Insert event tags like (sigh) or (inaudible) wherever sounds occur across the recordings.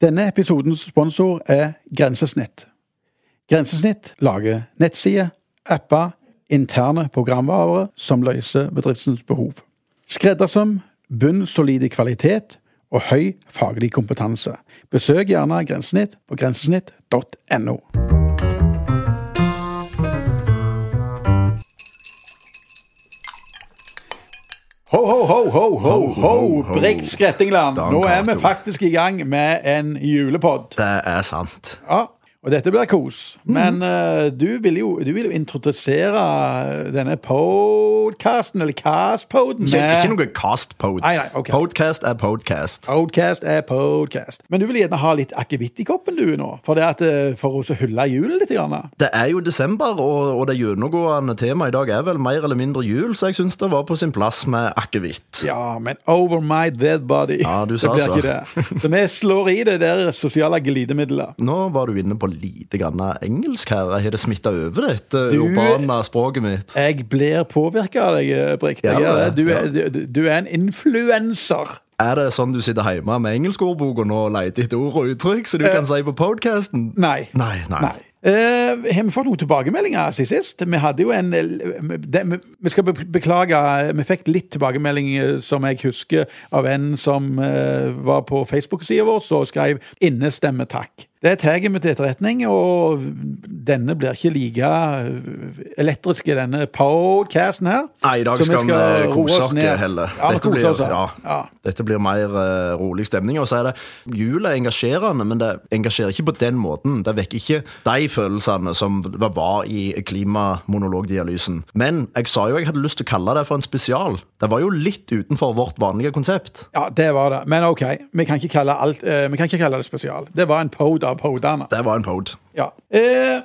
Denne episodens sponsor er Grensesnitt. Grensesnitt lager nettsider, apper, interne programvarer som løser bedriftens behov. Skreddersøm, bunnsolid kvalitet og høy faglig kompetanse. Besøk gjerne Grensesnitt på grensesnitt.no. Ho, ho, ho, ho, ho, ho, ho, ho. Brekt Skrettingland. Dan Nå er vi Cato. faktisk i gang med en julepod. Det er sant. Ja, og dette blir kos. Mhm. Men eh, du vil jo du vil jo introdusere denne podcasten, eller castpoden. Ikke, med- ikke noe cast-pod. Nei, nei, ok. Podcast er podcast. Podcast er podcast. Men du vil gjerne ha litt akevitt i koppen du nå, for, det at, eh, for å så hylle julen litt. Grann. Det er jo desember, og, og det gjennomgående temaet i dag er vel mer eller mindre jul, så jeg syns det var på sin plass med akevitt. Ja, men over my dead body. Ja, du sa det blir så. ikke det. Så vi slår i det der sosiale glidemiddelet. Nå var du inne på lite grann engelsk her. Har det smitta over dette Du- urbane språket mitt? Jeg blir påvirka av deg, eh, Brikt. Jeg Ja, gjør det. Du, er, ja. du, du er en influenser. Er det sånn du sitter hjemme med engelskordboka nå og leter etter ord og uttrykk som du kan si på podcasten? Eh. Nei. Nei, nei. Nei. Eh, har vi fått noen tilbakemeldinger siden sist? Vi hadde jo en eh, det, Vi skal be- beklage, eh, vi fikk litt tilbakemelding eh, som jeg husker av en som eh, var på Facebook-sida vår og skrev 'innestemme takk'. Det tar vi til etterretning, og denne blir ikke like eh, elektriske, denne podcasten her. Nei, i dag Så skal, vi roe kose oss ned. heller. Ja, vi dette, koser oss. blir, ja, Ja. dette blir mer eh, rolig stemning. Og så er det Jul er engasjerende, men det engasjerer ikke på den måten. Det vekker ikke de følelsene som det var i klimamonologdialysen. Men jeg sa jo jeg hadde lyst til å kalle det for en spesial. Det var jo litt utenfor vårt vanlige konsept. ja, det var det. Men OK, vi kan ikke kalle, alt, eh, vi kan ikke kalle det spesial. Det var en pod av podene. Det var en pod. Ja. Eh,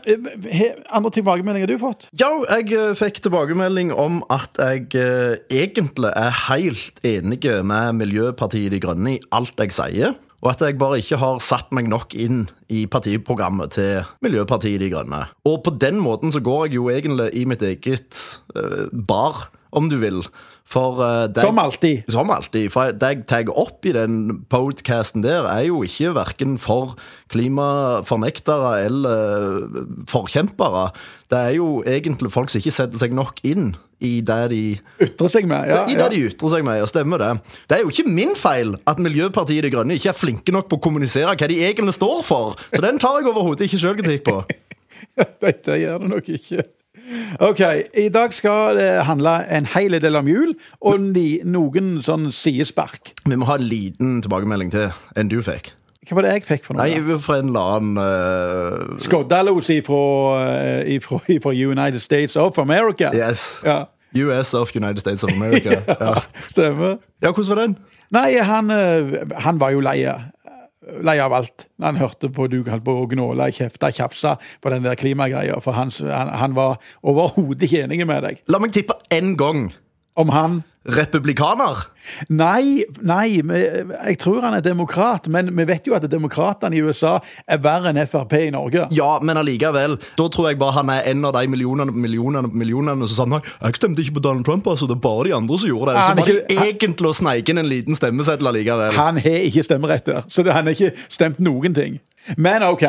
he, andre tilbakemeldinger du har fått? Ja, jeg eh, fikk tilbakemelding om at jeg eh, egentlig er helt enig med Miljøpartiet De Grønne i alt jeg sier, og at jeg bare ikke har satt meg nok inn i partiprogrammet til Miljøpartiet De Grønne. Og på den måten så går jeg jo egentlig i mitt eget eh, bar, om du vil. For eh, det- Som alltid. som alltid, for det jeg tar opp i den podcasten der, er jo ikke verken for klimafornektere eller forkjempere. Det er jo egentlig folk som ikke setter seg nok inn i det de, Ytre seg med. Ja, i det ja. de ytrer seg med, og stemmer det. Det er jo ikke min feil at Miljøpartiet De Grønne ikke er flinke nok på å kommunisere hva de egentlig står for, så den tar jeg overhodet ikke sjølkritikk (laughs) på. Dette gjør det nok ikke. OK. I dag skal det handle en hel del om jul, og ni, noen sånn sidespark. Vi må ha en liten tilbakemelding til enn du fikk. Hva var det jeg fikk for noe? Nei, fra en eller annen eh, Skoddalos ifra, eh, ifra, (laughs) ifra United States of America. Yes. Ja. US of United States of (laughs) America. (laughs) ja. Stemmer. ja, hvordan var den? Nei, han, eh, han var jo leie. Lei av alt. Når han hørte på du holdt på å gnåle, kjefte, tjafse på den der klimagreia. For han, han, han var overhodet ikke enig med deg. La meg tippe én gang. Om han Republikaner? Nei, nei, men jeg tror han er demokrat, men vi vet jo at demokratene i USA er verre enn Frp i Norge. Ja, men allikevel. Da tror jeg bare han er en av de millionene millionene, millionene som sa nei, jeg stemte ikke på Donald Trump, altså, det er bare de andre som gjorde det. Han Så er var ikke- det egentlig å sneike inn en liten stemmeseddel allikevel. Han har ikke stemmerett der, så det, han har ikke stemt noen ting. Men OK,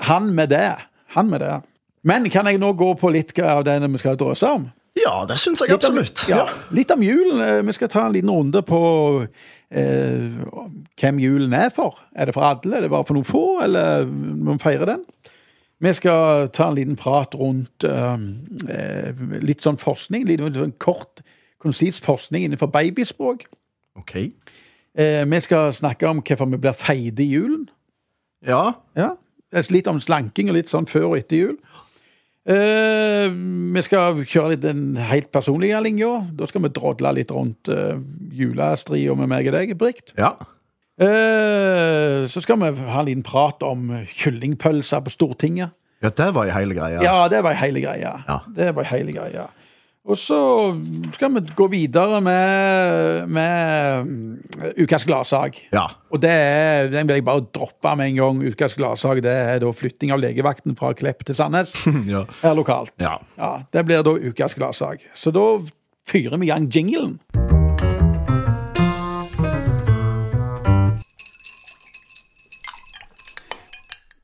han med det. Han med det. Men kan jeg nå gå på litt av det vi skal drøse om? Ja, det syns jeg absolutt. Litt om, ja, litt om julen. Eh, Vi skal ta en liten runde på eh, hvem julen er for. Er det for alle, er det bare for noen få, eller må vi feire den? Vi skal ta en liten prat rundt eh, eh, litt sånn forskning. Litt, sånn kort, konsis forskning innenfor babyspråk. Ok. Eh, vi skal snakke om hvorfor vi blir feide i julen. Ja. Ja. altså Litt om slanking og litt sånn før og etter jul. Eh, vi skal kjøre litt den helt personlige linja. Da skal vi drodle litt rundt eh, julestria med meg og deg, Brikt. ja. Eh, så skal vi ha en liten prat om kyllingpølser på Stortinget. Ja, det var ei heil greie. Ja, det var ei hele greie. Ja. Det var ei hele greie. Og så skal vi gå videre med, med mm, ukas gladsak. Ja. Og det er, den vil jeg bare droppe med en gang. Ukas gladsak det er da flytting av legevakten fra Klepp til Sandnes. Ja. Her lokalt. Ja. Det blir da ukas gladsak. Så da fyrer vi i gang jinglen.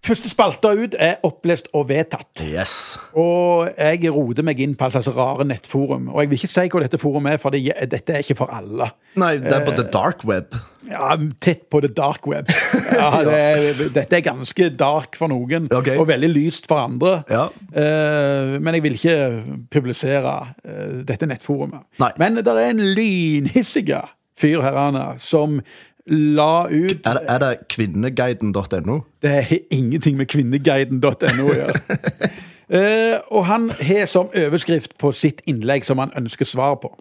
Første spalta ut er opplest og vedtatt. Yes. Og jeg roter meg inn på alt slags rare nettforum. Og jeg vil ikke si hva dette forumet er, for det, dette er ikke for alle. Nei, det er på the dark web. Ja, Tett på the dark (laughs) web. Ja, det, dette er ganske dark for noen, Ok. og veldig lyst for andre. Ja. Eh, men jeg vil ikke publisere eh, dette nettforumet. Nei. Men det er en lynhissige fyr her, Anna, som la ut Er det, er det kvinneguiden.no? det har ingenting med kvinneguiden.no å gjøre. Eh, og han har som overskrift på sitt innlegg som han ønsker svar på.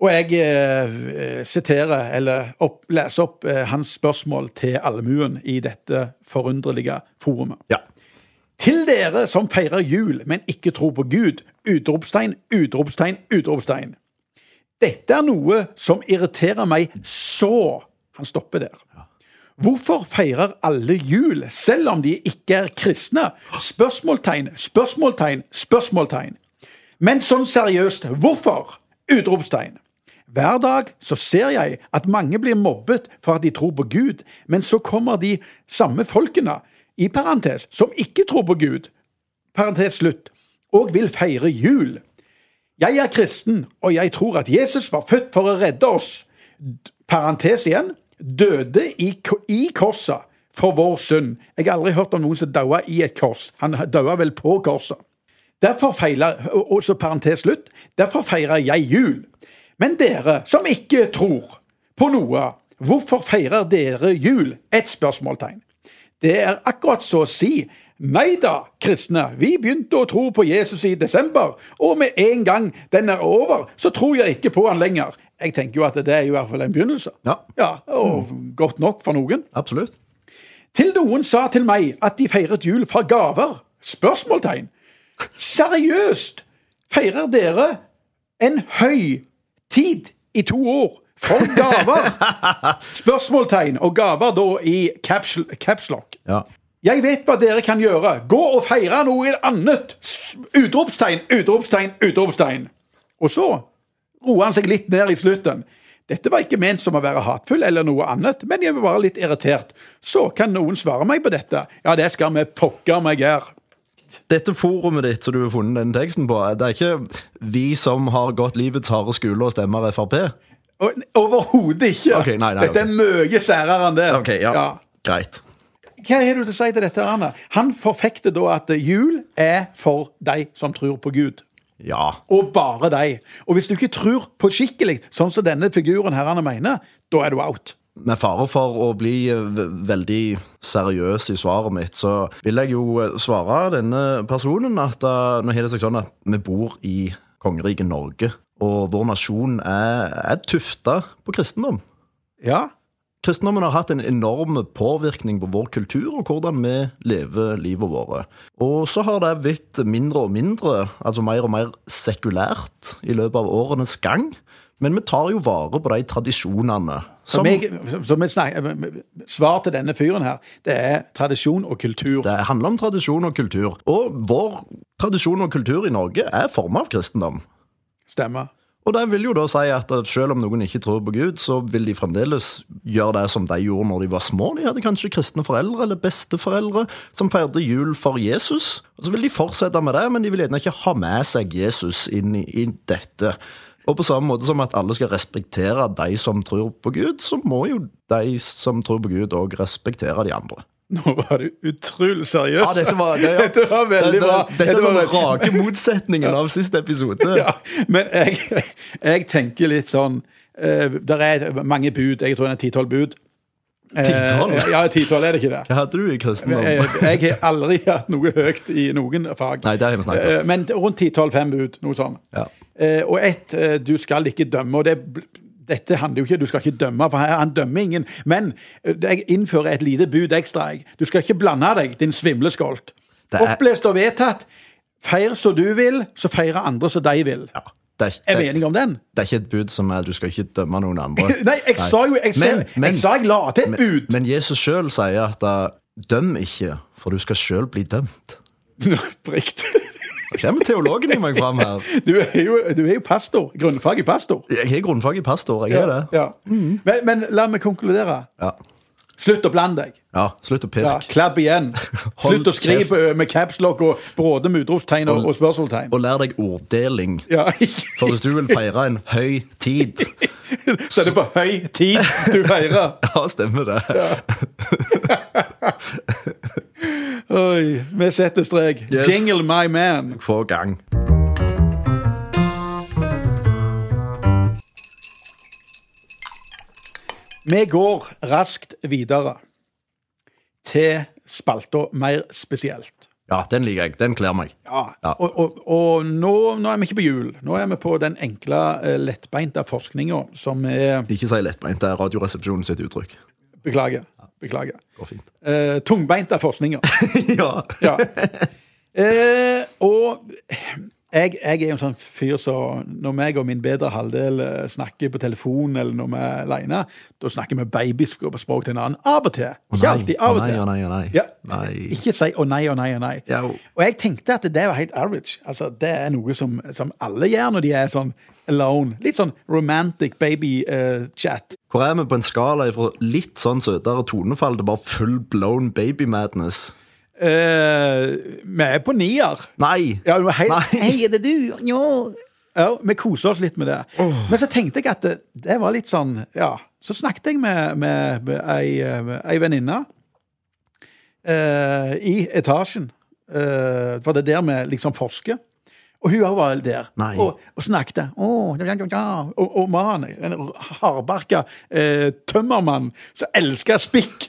Og jeg eh, siterer, eller opp, leser opp, eh, hans spørsmål til allmuen i dette forunderlige forumet. Ja. Til dere som feirer jul, men ikke tror på Gud. Utropstegn, utropstegn, utropstegn. Dette er noe som irriterer meg så Han stopper der. Hvorfor feirer alle jul, selv om de ikke er kristne? Spørsmålstegn, spørsmålstegn, spørsmålstegn. Men sånn seriøst, hvorfor? Utropstegn. Hver dag så ser jeg at mange blir mobbet for at de tror på Gud, men så kommer de samme folkene, i parentes, som ikke tror på Gud, parentes slutt, og vil feire jul. Jeg er kristen, og jeg tror at Jesus var født for å redde oss. D- Parentes igjen. Døde i, ko- i korset for vår synd. Jeg har aldri hørt om noen som daua i et kors. Han daua vel på korset. Derfor feiler, og og så parentes slutt, derfor feirer jeg jul. Men dere som ikke tror på noe, hvorfor feirer dere jul? Et spørsmålstegn. Det er akkurat så å si Nei da, kristne, vi begynte å tro på Jesus i desember, og med en gang den er over, så tror jeg ikke på han lenger. Jeg tenker jo at det er i hvert fall en begynnelse. Ja. ja og godt nok for noen. Absolutt. Til noen sa til meg at de feiret jul fra gaver. Spørsmåltegn. Seriøst! Feirer dere en høy tid i to år for gaver? Spørsmåltegn og gaver da i caps, caps lock. Ja. Jeg vet hva dere kan gjøre. Gå og feire noe annet! S- Utropstegn, utropstegn, utropstegn. Og så roer han seg litt ned i slutten. Dette var ikke ment som å være hatefull eller noe annet, men jeg var bare litt irritert. Så kan noen svare meg på dette. Ja, det skal vi pokker meg gjøre. Dette forumet ditt som du har funnet den teksten på, det er ikke vi som har gått livets harde skole og stemmer Frp? Og- Overhodet ikke. Ok, nei, nei, dette er ok. mye særere enn det. Ok, ja. Greit. Hva har du til å si til dette, Arne? Han forfekter da at jul er for de som tror på Gud. Ja. og bare deg. Og hvis du ikke tror på skikkelig, sånn som denne figuren her han mener, da er du out. Med fare for å bli eh, ve- veldig seriøs i svaret mitt, så vil jeg jo eh, svare denne personen at eh, nå har det seg sånn at vi bor i kongeriket Norge, og vår nasjon er, er tufta på kristendom. Ja, Kristendommen har hatt en enorm påvirkning på vår kultur og hvordan vi lever livet våre. Og så har det blitt mindre og mindre, altså mer og mer sekulært i løpet av årenes gang. Men vi tar jo vare på de tradisjonene. som, Som jeg, som jeg snakker, eh, Svar til denne fyren her, det er tradisjon og kultur. Det handler om tradisjon og kultur. Og vår tradisjon og kultur i Norge er forma av kristendom. Stemmer. Og det vil jo da si at selv om noen ikke tror på Gud, så vil de fremdeles gjøre det som de gjorde når de var små. De hadde kanskje kristne foreldre eller besteforeldre som feirte jul for Jesus. Og så vil de fortsette med det, men de vil gjerne ikke ha med seg Jesus inn i, i dette. Og på samme måte som at alle skal respektere de som tror på Gud, så må jo de som tror på Gud, òg respektere de andre. Nå var du utrolig seriøs. Ja, dette var, det, ja. Dette var veldig Dette- bra. Dette Dette er var sånn veldig- rake motsetningen av siste episode. (laughs) (laughs) Ja, men jeg, jeg tenker litt sånn Det er mange bud. Jeg tror det er ti-tolv bud. Eh, 10-12? Ja, ti-tolv er det ikke det? Hva hadde du i kristendom? Eh, Jeg har aldri (laughs) hatt noe høyt i noen fag. Nei, det har vi snakket om. Eh, Men rundt 10-12-5 bud, noe sånt. Ja. Eh, Og ett, eh, du skal ikke dømme. og det dette handler jo ikke, Du skal ikke dømme, for her- han dømmer ingen. Men eh, jeg innfører et lite bud ekstra. jeg. Du skal ikke blande deg, din svimleskolt. Det er- Opplest og vedtatt. Feir som du vil, så feirer andre som de vil. Ja. Det, er, Er vi det, enige om den? det er ikke et bud som er du skal ikke dømme noen andre. (laughs) Nei, jeg sa jo jeg, Men- sa, men- jeg, sa jeg la til et bud! (laughs) Men Jesus sjøl sier at uh, døm ikke, for du skal sjøl bli dømt. Brikt. Her Kommer teologen i meg fram her? Du er jo, du er jo pastor. Grunnfag i pastor. Jeg har grunnfag i pastor, jeg er det. Ja. Men, men la meg konkludere. Ja. Slutt å blande deg. Ja, slutt å Ja, pirke. klabb ign. Hold Slutt å skrive ø, med capslock og bråde med utropstegn og, og spørsmålstegn. Og lær deg orddeling. Ja. For hvis du vil feire en høy tid (laughs) Så er det på høy tid du feirer. Ja, stemmer det. Oi, vi setter strek. Yes. Jingle my man. Få gang. Vi går raskt videre til spalta mer spesielt. Ja, den liker jeg. Den kler meg. Ja, Ja. Og, og, og nå, nå er vi ikke på jul. Nå er vi på den enkle, eh, lettbeinta forskninga som er Ikke si lettbeint. Det er Radioresepsjonen sitt uttrykk. Beklager. beklager. Går fint. Eh, tungbeinta forskninga. ja. (laughs) Ja. (laughs) Eh, og jeg, jeg er jo en sånn fyr som når meg og min bedre halvdel eh, snakker på telefon, eller når vi er aleine, da snakker vi babyspråk til en annen. Av og til. Ikke alltid. Å Av og nei, til. å nei, å nei. Ja. nei. Ikke si 'å nei, å nei, å nei'. Ja. Og jeg tenkte at det var helt average. Altså, Det er noe som, som alle gjør når de er sånn alone. Litt sånn romantic eh, baby-chat. Hvor er vi på en skala fra litt sånn søtere tonefall til bare full blown baby madness? Eh, vi er på nier. Nei! Ja, du var helt, Nei. Hei, er det du? Ja. ja, vi koser oss litt med det. Men så tenkte jeg at det, det var litt sånn Ja. Så snakket jeg med, med, med ei, eh, ei venninne eh, i etasjen. Eh, for det er der vi liksom forsker. Og hun også var der Nei. og, og snakket. Å, ja, ja, ja, ja. Og, og mannen, en hardbarka eh, tømmermann som elsker spikk. (laughs)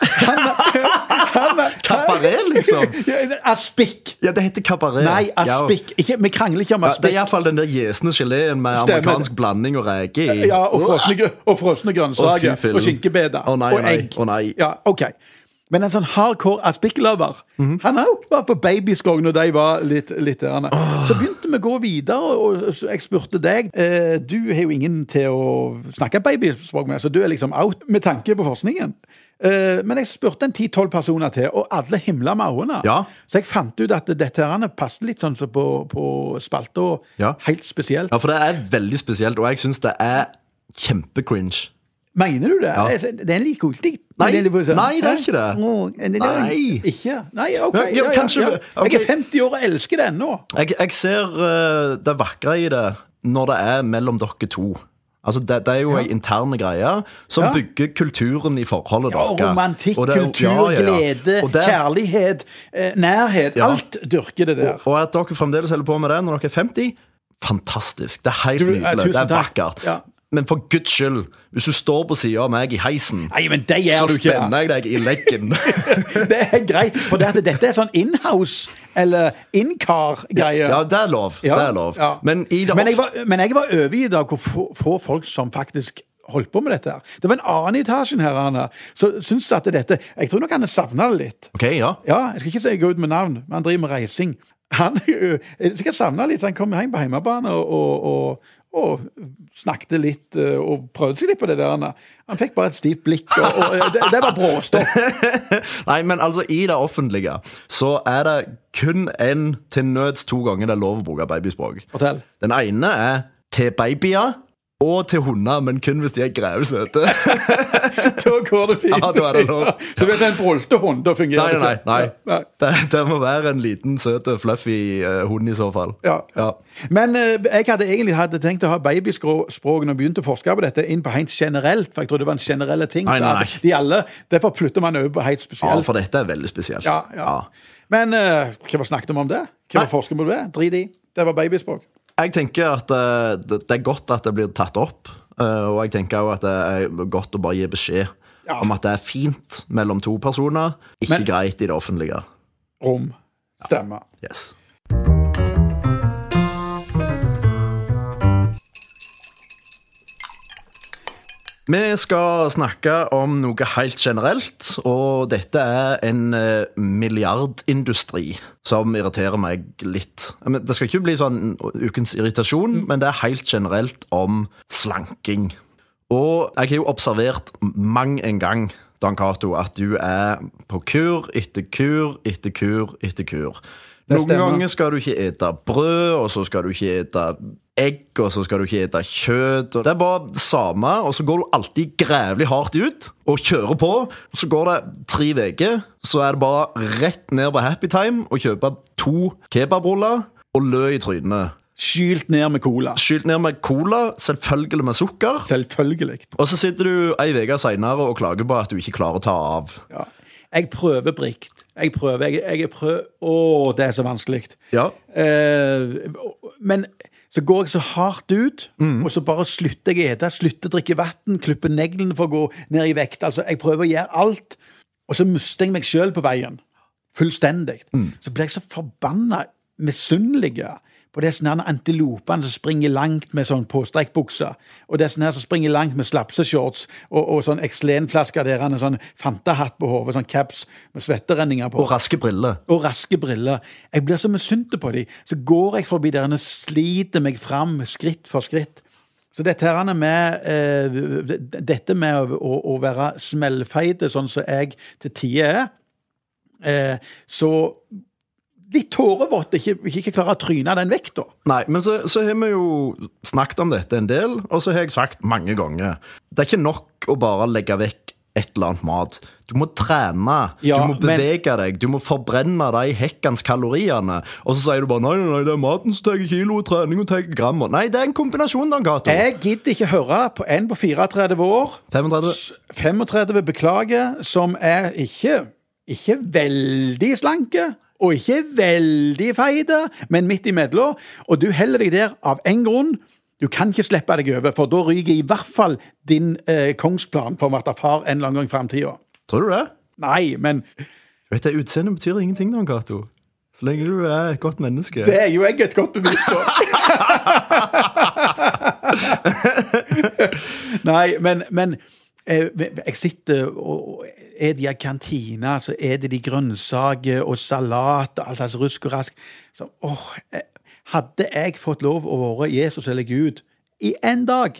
Han, han, Kabaret, liksom. (laughs) Ja, Aspikk. Ja, det heter kabaret. Nei, aspik. Ikke, vi krangler ikke om Ja, det er aspik. iallfall den der gjesne geleen med Stemmer det. amerikansk blanding og reker i. Ja, og frosne, grø- og frosne grønnsaker. Å, fy fillen. og skinkebeder. Å, nei, å, og nei, egg. å, nei. Ja, ok. Men en sånn hardcore aspik-lover Mhm. Han òg var på babyskog når de var litt, litt der. Så begynte vi å gå videre, og og så jeg spurte deg eh, Du har jo ingen til å snakke babyspråk med, så du er liksom out med tanke på forskningen. Eh, men jeg spurte en 10-12 personer til, og alle himla med øynene. Ja. Så jeg fant ut at dette her passet litt sånn som på, på spalta. Ja. Helt spesielt. Ja, for det er veldig spesielt, og jeg syns det er kjempecringe. Mener du det? Altså, Det er litt koselig. Nei, er litt sånn, nei, det er ikke det. Å, det er det Nei. Ikke? Nei, OK. Ja, ja, kanskje- ok. Jeg er 50 år og elsker det ennå. Jeg, jeg ser eh, det vakre i det når det er mellom dere to. Altså, Det, det er jo ei interne greie som Ja. bygger kulturen i forholdet Ja, deres. romantikk, Og det er jo- kultur, ja, ja, ja. glede, Og det- kjærlighet, eh, nærhet. Ja. Alt dyrker det der. Og at dere fremdeles holder på med det når dere er 50, fantastisk. Det er helt Du, eh, nydelig. tusen Det er takk. vakkert. Ja. Men for guds skyld, hvis du står på sida av meg i heisen, Nei, men det så gjør du ikke. spenner jeg deg i leggen. (laughs) Det er greit, for det at dette er sånn inhouse- eller incar-greie. ja, det er lov. Ja, det er lov. ja. Men i det men, jeg var, men jeg var overgitt av hvor få, få folk som faktisk holdt på med dette. her. Det var en annen i etasjen her, Arne, som syntes at dette Jeg tror nok han savna det litt. Ok, ja. Ja, Jeg skal ikke si gå ut med navn, men han driver med reising. Han (laughs) ø, jeg skal savne litt. Han kom hjem på hjemmebane og, og, og, og snakket litt ø, og prøvde seg litt på det der. Arne. Han fikk bare et stivt blikk, og, og ø, det, det var (laughs) bråstopp. Nei, men altså, i det offentlige så er det kun én til nøds to ganger det er lov å bruke babyspråk. Fortell. Den ene er til babyer og til hunder, men kun hvis de er grevsøte. (laughs) Da går det fint. Ja, da er det lov. Ja, (laughs) Så hvis det er en brolte hund, da Nei, fungerer nei, det nei. ikke. Ja, nei. Det, det må være en liten, søt, fluffy eh, hund i så fall. Ja. Ja. Men eh, jeg hadde egentlig hadde tenkt å ha babyspråk når jeg begynte å forske på dette, inn på helt generelt, for jeg trodde det var en generelle ting. Nei, så nei, nei. at De alle, Derfor flytter man over på helt ja, spesielt. for dette er veldig spesielt. Ja, ja. Men eh, hva var snakket vi om det? Hva Nei. var forsket vi på det? Drit i. Det var babyspråk. Jeg tenker at eh, det, det er godt at det blir tatt opp, eh, og jeg tenker også at det er godt å bare gi beskjed Ja. om at det er fint mellom to personer, ikke Men- greit i det offentlige. Rom. Stemme. Yes. Vi skal snakke om noe helt generelt, og dette er en eh, milliardindustri som irriterer meg litt. Men Det skal ikke bli sånn ukens irritasjon, men det er helt generelt om slanking. Og jeg har jo observert mang en gang, Dan Cato, at du er på kur etter kur etter kur etter kur. Noen stemmer. ganger skal du ikke ete brød, og så skal du ikke ete egg, og så skal du ikke ete kjøtt. Og det er bare det samme, og så går du alltid grævlig hardt ut og kjører på. Så går det tre uker, så er det bare rett ned på Happy Time og kjøpe to kebabruller og lø i trynet. Skylt ned med cola. Skylt ned med cola, selvfølgelig med sukker. Selvfølgelig. Og så sitter du ei uke seinere og klager på at du ikke klarer å ta av. Ja. Jeg prøver brikt. Jeg prøver. Jeg, jeg prøver. Å, det er så vanskelig. Ja, Eh, men så går jeg så hardt ut, og så bare slutter jeg å ete, slutter å drikke vann, klipper neglene for å gå ned i vekt. Altså, jeg prøver å gjøre alt, og så mister jeg meg sjøl på veien. Fullstendig. Så blir jeg så forbanna misunnelig på de sånne her antilopene som springer langt med sånn påstrekkbukse, og de sånne her som springer langt med slapseshorts og, og sånn Exlen-flasker der han har sånn fantahatt på hodet, sånn caps med svetterenninger på Og raske briller. og raske briller. Jeg blir så misunt på dem. Så går jeg forbi der og sliter meg fram skritt for skritt. Så dette her er med, eh, d- d- dette med å, å- å være smellfeite, sånn som jeg til tider er, eh, så litt tårevått, ikke, ikke klarer å tryne den vekta. Nei, men så, så har vi jo snakket om dette en del, og så har jeg sagt mange ganger Det er ikke nok å bare legge vekk et eller annet mat. Du må trene, Ja, du må men- bevege deg, du må forbrenne de hekkans kaloriene. Og så sier du bare nei, nei, nei, det er maten som tar kilo, og trening og tar gram. Nei, det er en kombinasjon, Dan Cato. Jeg gidder ikke høre på en på 34 år 35. S- 35 beklager, som er ikke, ikke veldig slanke, og ikke veldig feite, men midt imellom. Og du heller deg der av én grunn. Du kan ikke slippe deg over, for da ryker i hvert fall din eh, kongsplan for å bli far en eller annen gang i framtida. Tror du det? Nei, men Du vet, det Utseendet betyr ingenting, Dan Cato. Så lenge du er et godt menneske. det er jo jeg et godt bevis på. Nei, men, men eh, jeg sitter og og er det i en kantine, så altså, er det de grønnsaker og salat og all slags rusk og rask. Så, åh, eh, hadde jeg fått lov å være Jesus eller Gud i én dag,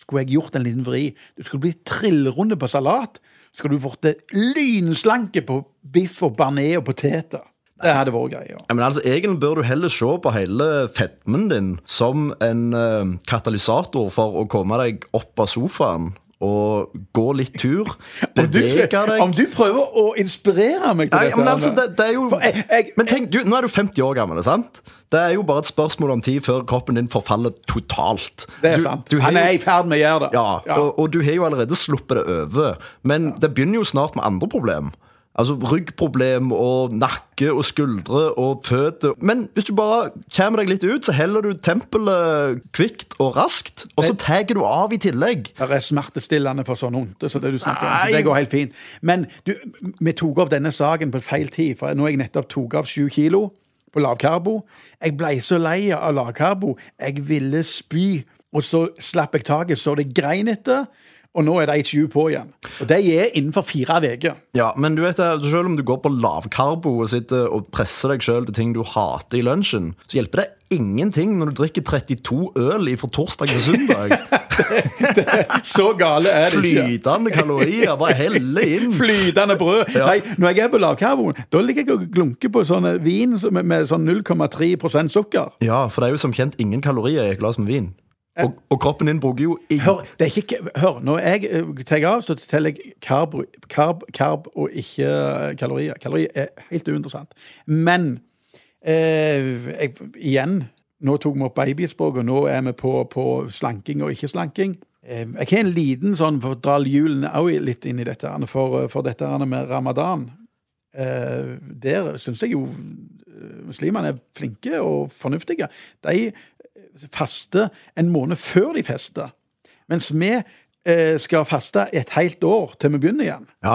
skulle jeg gjort en liten vri. Du skulle bli trillrunde på salat. Så skulle du blitt lynslanke på biff og bearnés og poteter. Det hadde vært greia. Ja, men altså, Egentlig bør du heller se på hele fedmen din som en eh, katalysator for å komme deg opp av sofaen og gå litt tur. Om du, Bevege om deg. du prøver å inspirere meg til Nei, dette men altså, Arne. det, det er jo For jeg- jeg- Men tenk, du, Nå er du 50 år gammel. sant? Det er jo bare et spørsmål om tid før kroppen din forfaller totalt. Det er Du- sant. du har Han jo- er i ferd med å gjøre det. ja, Og, og du har jo allerede sluppet det over. Men det begynner jo snart med andre problem. Altså ryggproblem og nakke og skuldre og føtter. Men hvis du bare kommer deg litt ut, så heller du tempelet kvikt og raskt. Og så tar du av i tillegg. Det er smertestillende for sånn vondt. Så det du snakker om, så Nei. det går helt fint. Men du, vi tok opp denne saken på feil tid, for nå har jeg nettopp tok av sju kilo på lavkarbo. Jeg ble så lei av lavkarbo. Jeg ville spy. Og så slapp jeg taket, så det grein etter. Og nå er de 20 på igjen. Og det er innenfor fire (laughs) uker. Ja, men du vet det, Selv om du går på lavkarbo og sitter og presser deg sjøl til ting du hater i lunsjen, så hjelper det ingenting når du drikker 32 øl fra torsdag til (laughs) søndag. Så gale er det ikke. Flytende kalorier. Bare helle inn. (laughs) Flytende brød. Nei, når jeg er på lavkarboen, da ligger jeg og glunker på sånn vin som- med, med sånn 0,3 sukker. Ja, for det er jo som kjent ingen kalorier i et glass med vin. Og, og kroppen din bruker jo ingen Hør, det er ikke, hør når jeg eh, tar av, så teller jeg karb, karb, karb og ikke eh, kalorier. Kalorier er helt uinteressant. Men eh, jeg, igjen, nå tok vi opp babyspråk, og nå er vi på, på slanking og ikke slanking. Eh, jeg har en liten sånn, for å dra hjulene også litt inn i dette, her, for, for dette her med ramadan. Eh, der syns jeg jo eh, muslimene er flinke og fornuftige. De faster en måned før de fester. Mens vi eh, skal faste et helt år til vi begynner igjen. Ja.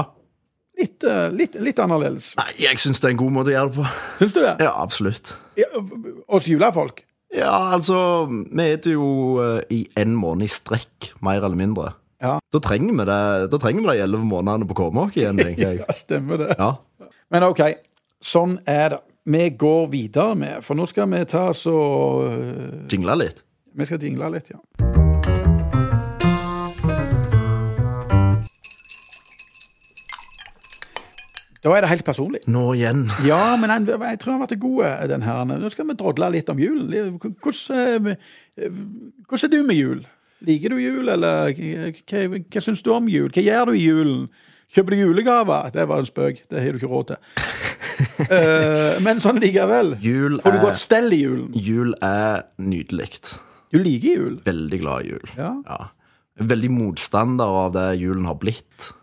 Litt, eh, litt, litt annerledes. Nei, jeg syns det er en god måte å gjøre det på. Syns du det? (laughs) Ja, absolutt. Ja, Oss julefolk. Ja, altså Vi spiser jo eh, i en måned i strekk, mer eller mindre. Ja. Da trenger vi det Da trenger vi de elleve månedene på Kåmåk igjen, tenker jeg. Ja, stemmer det. (laughs) Ja. Men OK, sånn er det. Vi går videre med For nå skal vi ta så Jingle litt. Vi skal jingle litt, ja. Da er det helt personlig. Nå igjen. Ja, men han, jeg tror han ble god, den her. Nå skal vi drodle litt om julen. Hvordan, eh, hvordan er du med jul? Liker du jul, eller hva, hva, hva syns du om jul? Hva gjør du i julen? Kjøper du julegaver? Det var en spøk, det har du ikke (laughs) råd til. Eh, men sånn likevel. Jul Får du er- godt stell i julen? Jul er nydelig. Du liker jul. Veldig glad i jul. Ja. Veldig motstander av det julen har blitt.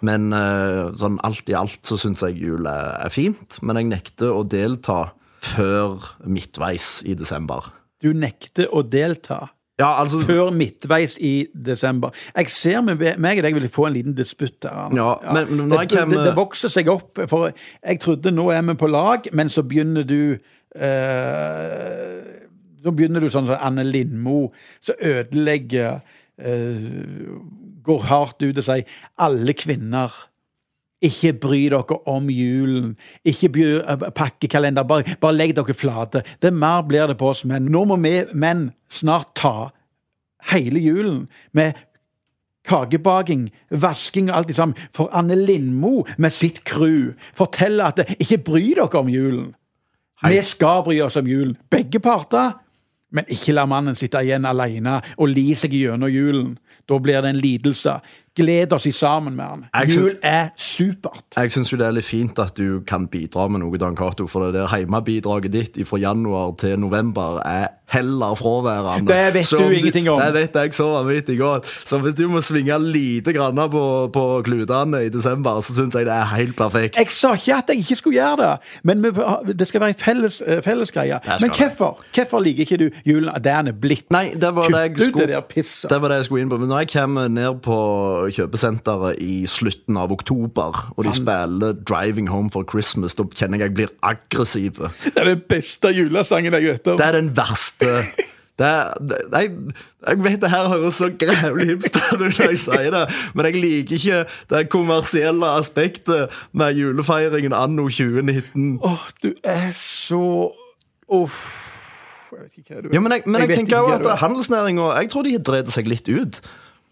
Men eh, sånn alt i alt så syns jeg jul er, er fint. Men jeg nekter å delta før midtveis i desember. Du nekter å delta. Ja, altså Før midtveis i desember. Jeg ser med meg og deg vil få en liten disputt her. Arne. Ja, men- men når det, jeg det, kommer- det vokser seg opp, for jeg trodde nå er vi på lag, men så begynner du eh, Så begynner du sånn som Anne Lindmo, som ødelegger eh, Går hardt ut og sier 'alle kvinner'. Ikke bry dere om julen. Ikke by, pakkekalender. Bare, bare legg dere flate. Det er mer blir det på oss menn. Nå må vi menn snart ta hele julen med kakebaking, vasking og alt det sammen for Anne Lindmo med sitt crew. Fortelle at det, ikke bry dere om julen. Vi skal bry oss om julen, begge parter. Men ikke la mannen sitte igjen alene og li seg gjennom julen. Da blir det en lidelse. Gled oss i sammen med han. Jeg skjøn- Jul er supert. Jeg syns jo det er litt fint at du kan bidra med noe, Dan Cato, for det der heimebidraget ditt fra januar til november er heller fraværende. Det vet Så du ingenting om. Det vet jeg så vanvittig godt. Så hvis du må svinge lite grann på, på klutene i desember, så syns jeg det er helt perfekt. Jeg sa ikke at jeg ikke skulle gjøre det, men vi- det skal være en felles, eh, felles greie. skal Men det. hvorfor Hvorfor liker ikke du julen? Det er den er blitt. Nei, det var det Kutt jeg ut det der skulle pisset. det var det jeg skulle inn på, men Når jeg kommer ned på kjøpesenteret i slutten av oktober, og de spiller 'Driving Home for Christmas', da kjenner jeg jeg blir aggressiv. Det er den beste julesangen jeg vet om. Det er den verste det er, det- nei, Jeg vet det her høres så grævlig hipster ut når jeg sier det, men jeg liker ikke det kommersielle aspektet med julefeiringen anno 2019. Åh, du er så Uff. Jeg vet ikke hva du er. Ja, men jeg, men jeg, vet ikke tenker jo hva at du er. handelsnæringa Jeg tror de har drevet seg litt ut.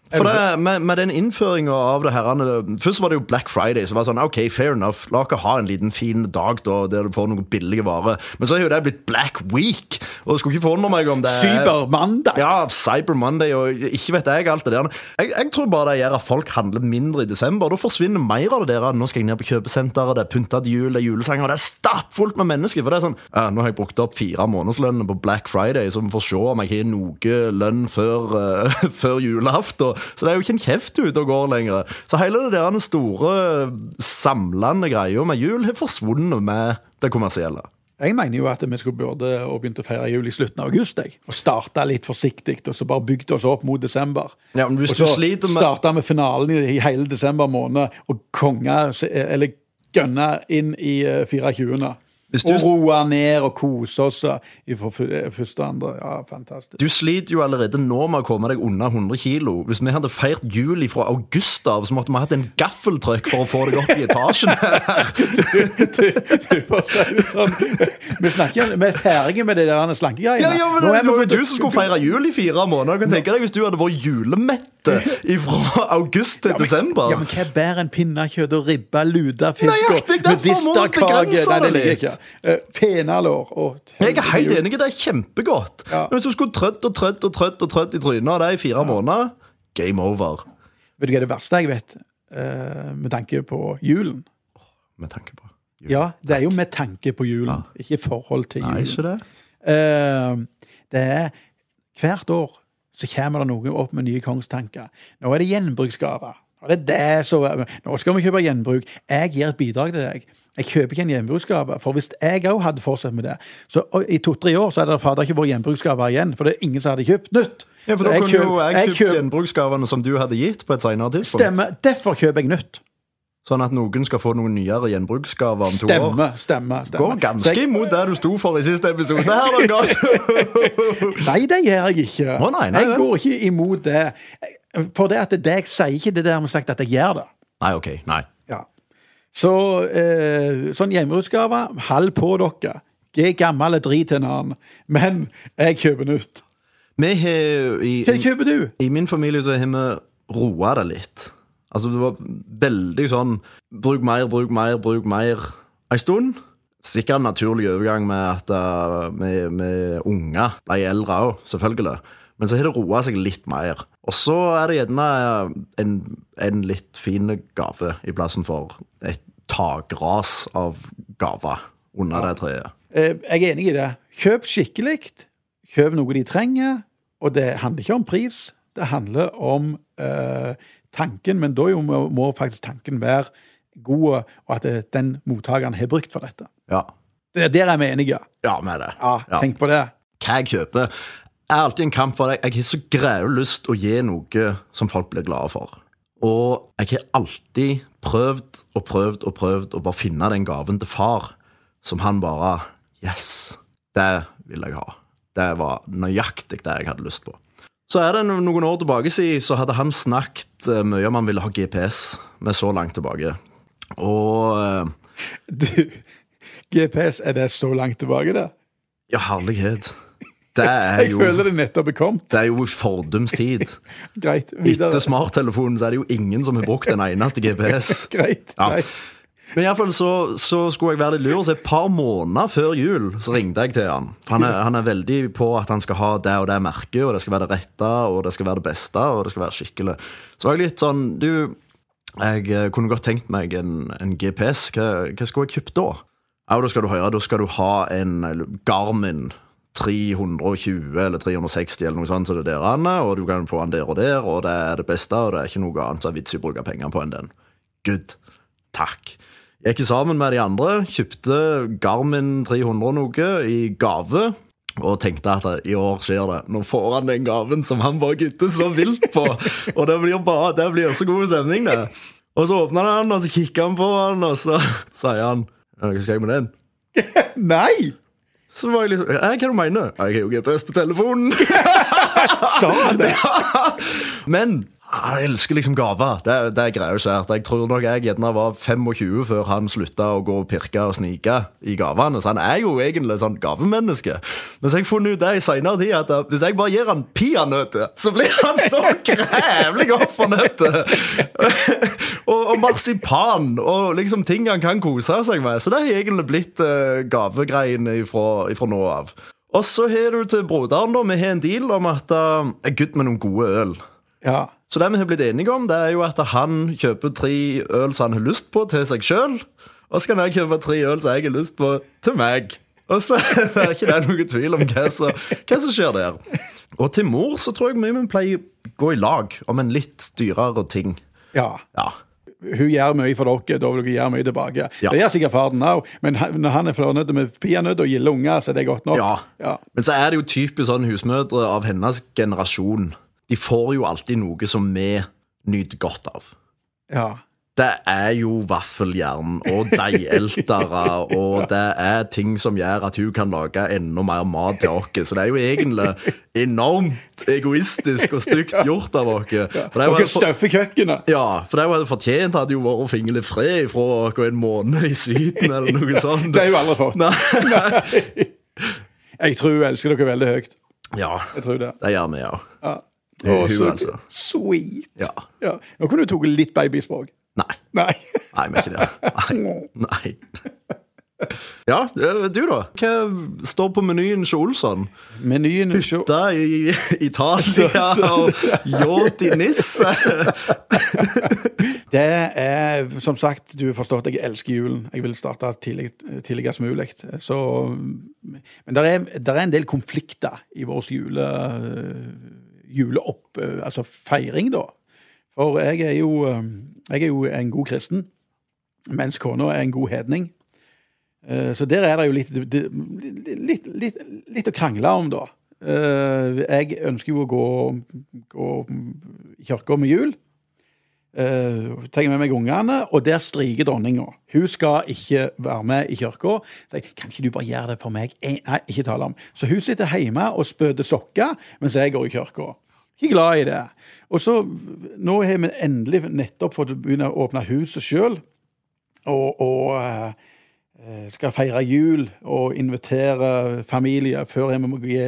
For det, med, med den innføringa av det herrene Først var det jo Black Friday. Så var det sånn, ok, fair enough La dere ha en liten fin dag da der du får noen billige varer. Men så er jo det blitt Black Week. Og det skulle ikke forundre meg om det er Cybermandag. Eh, Ja, Cyber Monday og ikke vet jeg alt det der. Jeg, jeg tror bare det gjør at folk handler mindre i desember. Da forsvinner mer av det der. Nå skal jeg ned på kjøpesenteret, det er pynta til jul, det er julesanger, og det er stappfullt med mennesker. For det er sånn «Ja, Nå har jeg brukt opp fire månedslønner på Black Friday, så vi får se om jeg har noe lønn før, uh, (laughs) før julaften. Så det er jo ikke en kjeft ute og går lenger. Så hele det der den store samlende greia med jul har forsvunnet med det kommersielle. Jeg mener jo at vi skulle burde og begynte å feire jul i slutten av august. Jeg. Og starta litt forsiktig, og så bare bygde oss opp mot desember. Ja, men hvis og så du sliter med- starta vi finalen i, i hele desember måned, og konga Eller gønna inn i eh, 24. Hvis du- Og roa ned og kose oss eh, fra fu- eh, første og andre. Ja, fantastisk. Du sliter jo allerede nå med å komme deg unna 100 kilo. Hvis vi hadde feirt jul fra august av, så måtte vi hatt en gaffeltrøkk for å få deg opp i etasjen. du får si det sånn. Vi, snakker, vi er ferdige med det der slankegreiene. (laughs) ja, ja, men Nå det er vi var ute- jo du som skulle feire jul i fire måneder. Du kan tenke deg Hvis du hadde vært julemette fra august til desember. Ja, men Hva er bedre enn pinnekjøtt og ribbe, luda, fisk og Nøyaktig, derfor må man begrense Nei, det liker jeg det ikke. Eh, Fenalår og jeg er helt enig, det er kjempegodt. Ja. Men hvis du skulle trødd og trødd og trødd og trødd i trynet av det i fire måneder, game over. Vet du hva det verste jeg vet, eh, med tanke på julen? Med tanke på jul. Ja, det er jo med tanke på julen, ikke i forhold til Nei, julen. ikke det? Eh, det er Hvert år så kommer det noe opp med nye kongstanker. Nå er det gjenbruksgaver. Nå er det det som Nå skal vi kjøpe gjenbruk. Jeg gir et bidrag til deg. Jeg kjøper ikke en gjenbruksgave. For hvis jeg òg hadde fortsatt med det, så og i to-tre år så hadde det fader ikke vært gjenbruksgaver igjen. For det er ingen som hadde kjøpt nytt. Ja, for da Jeg kunne jo kjøp- jeg jeg kjøpt kjøp- gjenbruksgavene som du hadde gitt, på et senere tidspunkt. Stemmer. Derfor kjøper jeg nytt. Sånn at noen skal få noen nyere gjenbruksgaver om to år. Stemmer, stemmer. stemmer. Går Så ganske jeg- imot det du sto for i siste episode. her (laughs) da, Gato. Nei, det gjør jeg ikke. Å, nei, nei, jeg vel. går ikke imot det. For det at det jeg sier ikke det der med sagt at jeg gjør det. Nei, ok. Nei. Ja. Så eh, sånn hjemmeutgave, halv på dere. Gi gammel drit til en annen. Men jeg kjøper nytt. Vi har Hva i, kjøper du? I min familie så har vi roa det litt. Altså, det var veldig sånn Bruk mer, bruk mer, bruk mer en stund. Sikkert en naturlig overgang med at eh, med, med unger ble eldre òg, selvfølgelig. Men så har det roa seg litt mer. Og så er det gjerne eh, en, en litt fin gave i plassen for et takras av gaver under det treet. Eh, Jeg er enig i det. Kjøp skikkelig. Kjøp noe de trenger. Og det handler ikke om pris, det handler om eh, tanken. Men da jo må, må faktisk tanken være god, og at det, den mottakeren har brukt for dette. Ja, Det er der er vi enige. ja med det. Ja, Ja. Tenk på det. hva jeg kjøper, er alltid en kamp for deg. Jeg har så greie lyst å gi noe som folk blir glade for. Og jeg har alltid prøvd og prøvd og prøvd å bare finne den gaven til far som han bare Yes, det vil jeg ha. Det var nøyaktig det jeg hadde lyst på. Så er det no- noen år tilbake siden, så hadde han snakket eh, mye om han ville ha GPS. Med så langt tilbake. Og eh, Du, (laughs) GPS, er det så langt tilbake, det? Ja, herlighet. Det er (laughs) Jeg jo, føler det nettopp er kommet. det er jo i fordums tid. Greit. Etter Videre. smarttelefonen så er det jo ingen som har brukt en eneste GPS. Greit. Ja. greit. Men iallfall så, så skulle jeg være litt lur, så et par måneder før jul så ringte jeg til han. For Han er, han er veldig på at han skal ha det og det merket, og det skal være det rette, og det skal være det beste, og det skal være skikkelig. Så var jeg litt sånn Du, jeg eh, kunne godt tenkt meg en, en GPS. Hva, hva skulle jeg kjøpt da? Ja, da skal du høre, da skal du ha en Garmin 320 eller 360 eller noe sånt, så det er der han er, og du kan få han der og der, og det er det beste, og det er ikke noe annet som er vits i å bruke penger på enn den. Good. Takk. Jeg gikk sammen med de andre, kjøpte Garmin 300 noe i gave. Og tenkte at i år skjer det. Nå får han den gaven som han bare gutter så vilt på. Og det blir, bare, det blir så god stemning, det. Og så åpner han, og så kikker han på han, og så sier han «Ja, Hva skal jeg med den? Nei! Så var jeg liksom «Hæ, Hva er det du mener du? Jeg har jo GPS på telefonen. Sa han (laughs) det? Men han elsker liksom gaver. Det, er- det er greier svært. Jeg tror nok jeg gjerne var 25 før han slutta å gå og pirke og snike i gavene. Så han er jo egentlig sånn gavemenneske. Men så har jeg funnet ut det i senere tid at eh, hvis jeg bare gir han peanøtter, så blir han så grævlig opp for nøtter. (laughs) og, og marsipan og liksom ting han kan kose seg med. Så det har egentlig blitt uh, gavegreiene ifra, ifra nå av. Og så har du til broderen, da. Vi har en deal om at eh, en gutt med noen gode øl. Ja. Så det vi har blitt enige om, det er jo at han kjøper tre øl som han har lyst på til seg sjøl. Og så kan jeg kjøpe tre øl som jeg har lyst på til meg. Og så (laughs) er det ikke det noe tvil om hva som, hva som skjer der. Og til mor så tror jeg mye vi pleier å gå i lag om en litt dyrere ting. ja. Ja. Hun gjør mye for dere, da vil dere gjøre mye tilbake. Ja. Det gjør sikkert faren òg, men han- når han er fornøyd med peanøtter og gilde unger, så er det godt nok. ja. Ja. Men så er det jo typisk sånn husmødre av hennes generasjon. De får jo alltid noe som vi nyter godt av. Ja. Det er jo vaffeljern og deigeltere, og det er ting som gjør at hun kan lage enda mer mat til oss. Så det er jo egentlig enormt egoistisk og stygt gjort av oss. For det er jo altså- Dere helt for- støffer kjøkkenet! Ja, for det er jo helt fortjent hadde jo vært å fingle fred fra oss en måned i Syden eller noe sånt. Det har hun aldri fått. Nei. Jeg tror hun elsker dere veldig høyt. Ja, Jeg tror det. det gjør vi òg. Ja. Det er Å, hun, så altså. Sweet. Ja. Nå kunne du tatt litt babyspråk. Nei. Nei. Nei, vi er ikke det. Nei. Nei. (laughs) Ja, du, da? Hva står på menyen hos Olsson? Menyen Da i (laughs) Italia og yacht i Nis. Det er, som sagt, du har forstått, jeg elsker julen. Jeg vil starte tidlig, tidligst mulig. Så, men det er, der er en del konflikter i vår jule, juleopp... Altså feiring, da. For jeg er jo, jeg er jo en god kristen, mens kona er en god hedning. Eh, Så der er det jo litt, litt, litt, litt å krangle om, da. Eh, Jeg ønsker jo å gå, gå i kirka med jul. Eh, tar jeg med meg ungene, og der stryker dronninga. Hun skal ikke være med i kirka. Så jeg, Kan ikke du bare gjøre det for meg? Eh, Nei, ikke tale om. Så hun sitter hjemme og spøder sokker mens jeg går i kirka. Ikke glad i det. Og så, nå har vi endelig nettopp fått begynne å åpne huset sjøl, og, og eh, eh, skal feire jul og invitere familie før jeg må gi,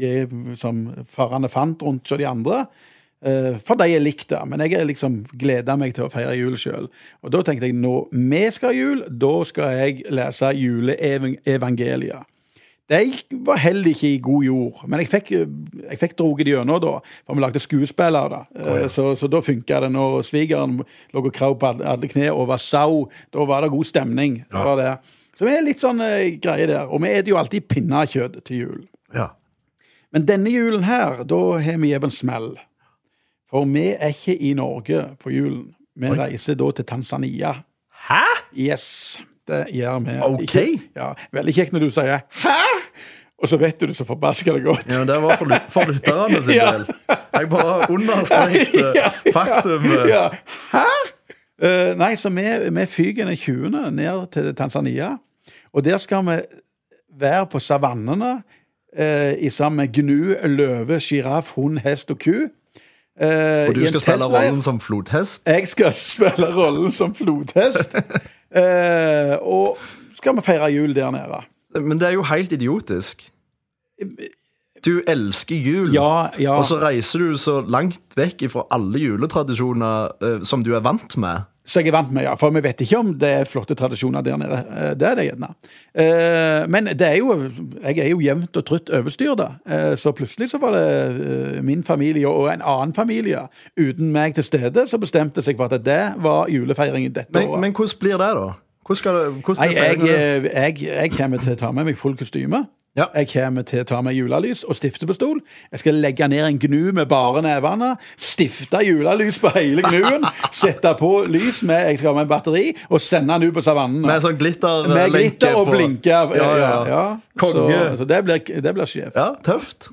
gi som farene fant rundt så de andre. eh, fra de jeg likte. Men jeg er liksom gleda meg til å feire jul sjøl. Og da tenkte jeg når vi skal ha jul, da skal jeg lese juleevangeliet. De var heller ikke i god jord, men jeg fikk, jeg fikk droget det gjennom da. For vi lagde skuespill av det. Eh, Så, så da funka det. Når svigeren lå og krav på alle- alle kne og var sau, da var det god stemning. Det var det. Så vi er litt sånn eh, greie der. Og vi spiser jo alltid pinnekjøtt til jul. Ja. Men denne julen her, da har vi gjeve en smell. For vi er ikke i Norge på julen. Vi reiser da til Tanzania. Hæ?! Yes, det gjør vi. Ok. Ikke- Ja, veldig kjekt når du sier 'hæ?' Og så vet du det så forbaska det godt. (laughs) Ja, men Det var for, lyt- for lytterne sin Ja. del. Jeg bare understrekte (laughs) Ja, ja. faktum. Ja. Hæ?! Eh, nei, så vi, vi fyker den 20. ned til Tanzania. Og der skal vi være på savannene eh, i sammen med gnu, løve, sjiraff, hund, hest og ku. Eh, Og i du en skal spille teltleir. rollen som flodhest. Jeg skal spille rollen som (laughs) flodhest. eh, og skal vi feire jul der nede. Men det er jo helt idiotisk. Du elsker jul, Ja, ja. og så reiser du så langt vekk fra alle juletradisjoner eh, som du er vant med. Så jeg er vant med, ja. For vi vet ikke om det er flotte tradisjoner der nede. Eh, Det er det gjerne. Eh, Men det er jo, jeg er jo jevnt og trutt overstyrt. Eh, Så plutselig så var det eh, min familie og en annen familie uten meg til stede som bestemte seg for at det var julefeiringen dette Men, året. men hvordan blir det, da? Hvordan skal det, hvordan Nei, blir jeg, eh, feiringen? jeg, jeg kommer til å ta med meg full kostyme. Ja. Jeg kommer til å ta med julelys og stiftepistol. Jeg skal legge ned en gnu med bare nevene, stifte julelys på hele (laughs) gnuen, sette på lys med jeg skal ha med en batteri, og sende den ut på savannen. Med sånn glitterlenke Med glitter og på- blinke. Ja, ja, ja. Så, Konge. så det blir, det blir sjef. Ja, tøft.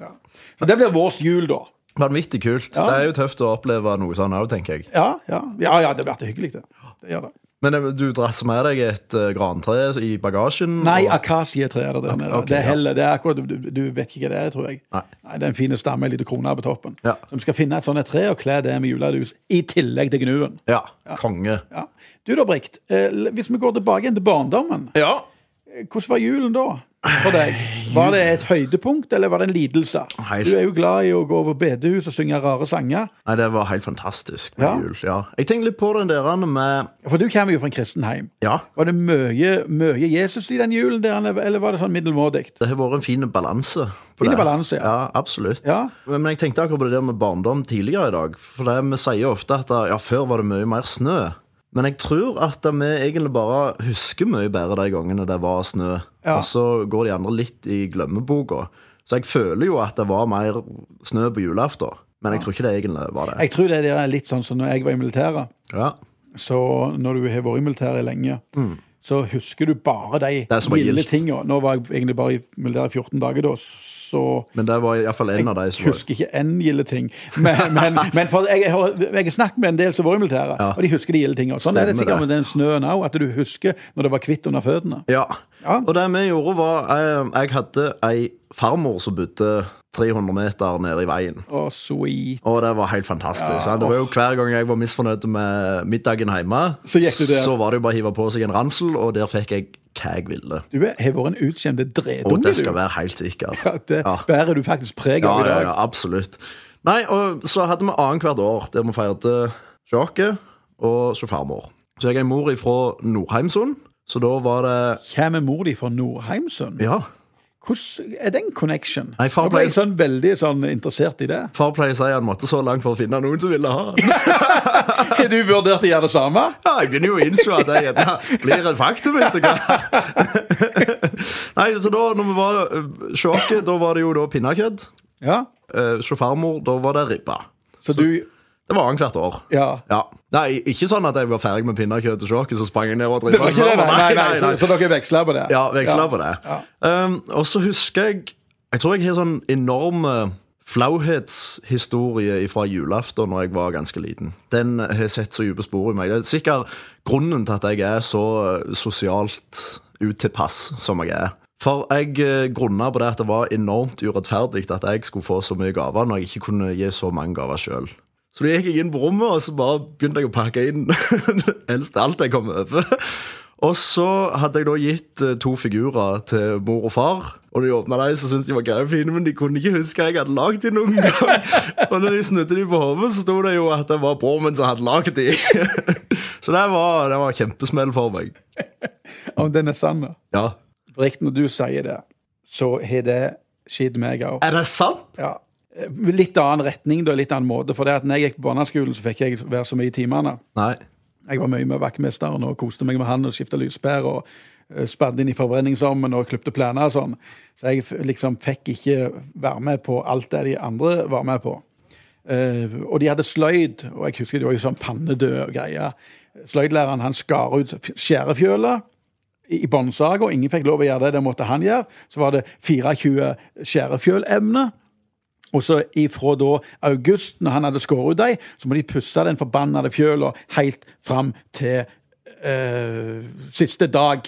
Så det blir vårs jul, da. Vanvittig kult. Det er jo tøft å oppleve noe sånn òg, tenker jeg. Ja, ja. ja, ja det blir alltid hyggelig, det. det, gjør det. Men eh, du drasser med deg et eh, grantre i bagasjen. Nei, og, akasietre er det der nede. ok, det er ja. heller, det er akkurat, du, du vet ikke hva det er, tror jeg. Nei. Det er en fin stamme med en liten krone på toppen. Ja. Så vi skal finne et sånt et tre og kle det med julelys, i tillegg til gnuen. ja, konge. Ja. Du da, Brikt. Eh, l- hvis vi går tilbake igjen til barndommen, Ja. eh, hvordan var julen da? For deg? Var det et høydepunkt, eller var det en lidelse? Helt- Du er jo glad i å gå på bedehus og synge rare sanger. Nei, det var helt fantastisk med Ja. jul. Ja. Jeg tenker litt på den der med For du kommer jo fra en kristen heim. Ja, Var det mye, mye Jesus i den julen, der, eller eller var det sånn middelmådig? det har vært en fin balanse. på Fin det. balanse, ja. ja. absolutt. Ja. Men men jeg tenkte akkurat på det der med barndom tidligere i dag. For det, vi sier jo ofte at ja, før var det mye mer snø. Men jeg tror at vi egentlig bare husker mye bedre de gangene det var snø. Ja. Og så går de andre litt i glemmeboka. Så jeg føler jo at det var mer snø på julaften. Men jeg tror ikke det egentlig var det. Jeg tror det der er litt sånn som når jeg var i militæret. Ja, Så når du har vært i militæret lenge, så husker du bare de Mm. er som er gilde gildt. tinga. Nå var jeg egentlig bare i militæret i 14 dager, da, så Men det var iallfall en av de som var husker ikke én gilde ting. Men, men, men for jeg, har, jeg har snakket med en del som var i militæret, og de husker de gilde tinga. Sånn er det Stemmer sikkert det. med den snøen òg, at du husker når det var hvitt under føttene. Ja. Ja. Og det vi gjorde, var eh, Jeg hadde ei farmor som bodde 300 meter nede i veien. Å, sweet. Og det var helt fantastisk. sant? Det var jo Hver gang jeg var misfornøyd med middagen hjemme, Så gikk du der. så var det jo bare å hive på seg en ransel, og der fikk jeg hva jeg ville. Du er- har vært en utskjemt Og dredunge, det du. skal være helt sikkert. (laughs) Ja, det bærer du faktisk preg Ja, av i ja, dag. ja, absolutt. Nei, og så hadde vi annethvert år der vi feirte sjåke og så farmor. Så jeg er mor ifra Nordheimsund, så da var det Kommer mor di fra Nordheimsund? Ja. Hvordan er den connection? Nei, far Nå ble ble- jeg sånn veldig sånn interessert i det. Far pleier å si han måtte så langt for å finne noen som ville ha. Ja, Har (laughs) du vurdert å gjøre det samme? jeg begynner jo å innse at det gjerne blir et faktum etter hvert. Nei, så da når vi var øh, sjåke, da var det jo da pinnekjøtt. Ja. Eh, Sjåfarmor, da var det ribba. Så du Det var annethvert år. Ja. Ja. Nei, ikke sånn at jeg var ferdig med pinnekjøtt og sjåke, så sprang jeg ned og åt Det var ikke det, nei, nei, nei, nei, Så, nei. så dere veksla på det? Ja, veksla på det. Ja. Um, og så husker jeg Jeg tror jeg har sånn enorme flauhetshistorie fra julaften når jeg var ganske liten. Den har sett så dype spor i meg. Det er sikkert grunnen til at jeg er så eh, sosialt utilpass som jeg er. For jeg eh, grunna på det at det var enormt urettferdig at jeg skulle få så mye gaver når jeg ikke kunne gi så mange gaver sjøl. Så (laughs) da gikk jeg inn på rommet, og så bare begynte jeg å pakke inn eldst alt jeg kom over. Og så hadde jeg da gitt eh, to figurer til mor og far. Og når de åpna dem, så syntes de var gærent fine, men de kunne ikke huske hva jeg hadde lagd dem noen gang. (laughs) og når de snudde dem på hodet, så sto det jo at det var broren min som hadde lagd dem. (laughs) så det var, det var kjempesmell for meg. Om den er sann, da. Ja. Riktig når du sier det, så har det skjedd meg òg. Er det sant? Ja. Litt annen retning, da, litt annen måte. For det at når jeg gikk på barneskolen, så fikk jeg være så mye i timene. Nei. Jeg var mye med vaktmesteren og koste meg med han og skifta lyspærer og eh, spadde inn i forbrenningsovnen og klipte plener og sånn. Så jeg f- liksom fikk ikke være med på alt det de andre var med på. Eh, og de hadde sløyd, og jeg husker det var jo sånn pannedød og greier. Sløydlæreren han skar ut f- skjærefjølet i i båndsaga, og ingen fikk lov å gjøre det. Det måtte han gjøre. Så var det 24 skjærefjølemne. Og så ifra da august, når han hadde skåret ut dem, så må de puste den forbannede fjøla helt fram til eh, siste dag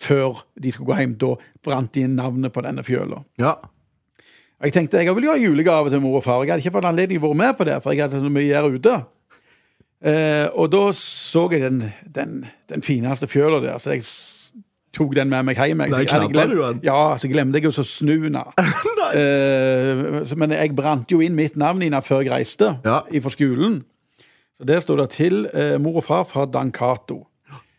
før de skulle gå hjem. Da brant de inn navnet på denne fjøla. Ja. Og Jeg tenkte jeg ville jo ha julegave til mor og far. Jeg hadde ikke fått anledning til å være med på det, for jeg hadde så mye her ute. Eh, og da så jeg den, den, den fineste fjøla der, så jeg s- tok den med meg hjem. Jeg, Nei, jeg hadde knabba glemt- du den? Ja, så glemte jeg jo så snu den. (laughs) Nei. Eh, så- men jeg brant jo inn mitt navn innan før jeg reiste Ja. fra skolen. Så der sto det til eh, mor og far fra Dan Cato.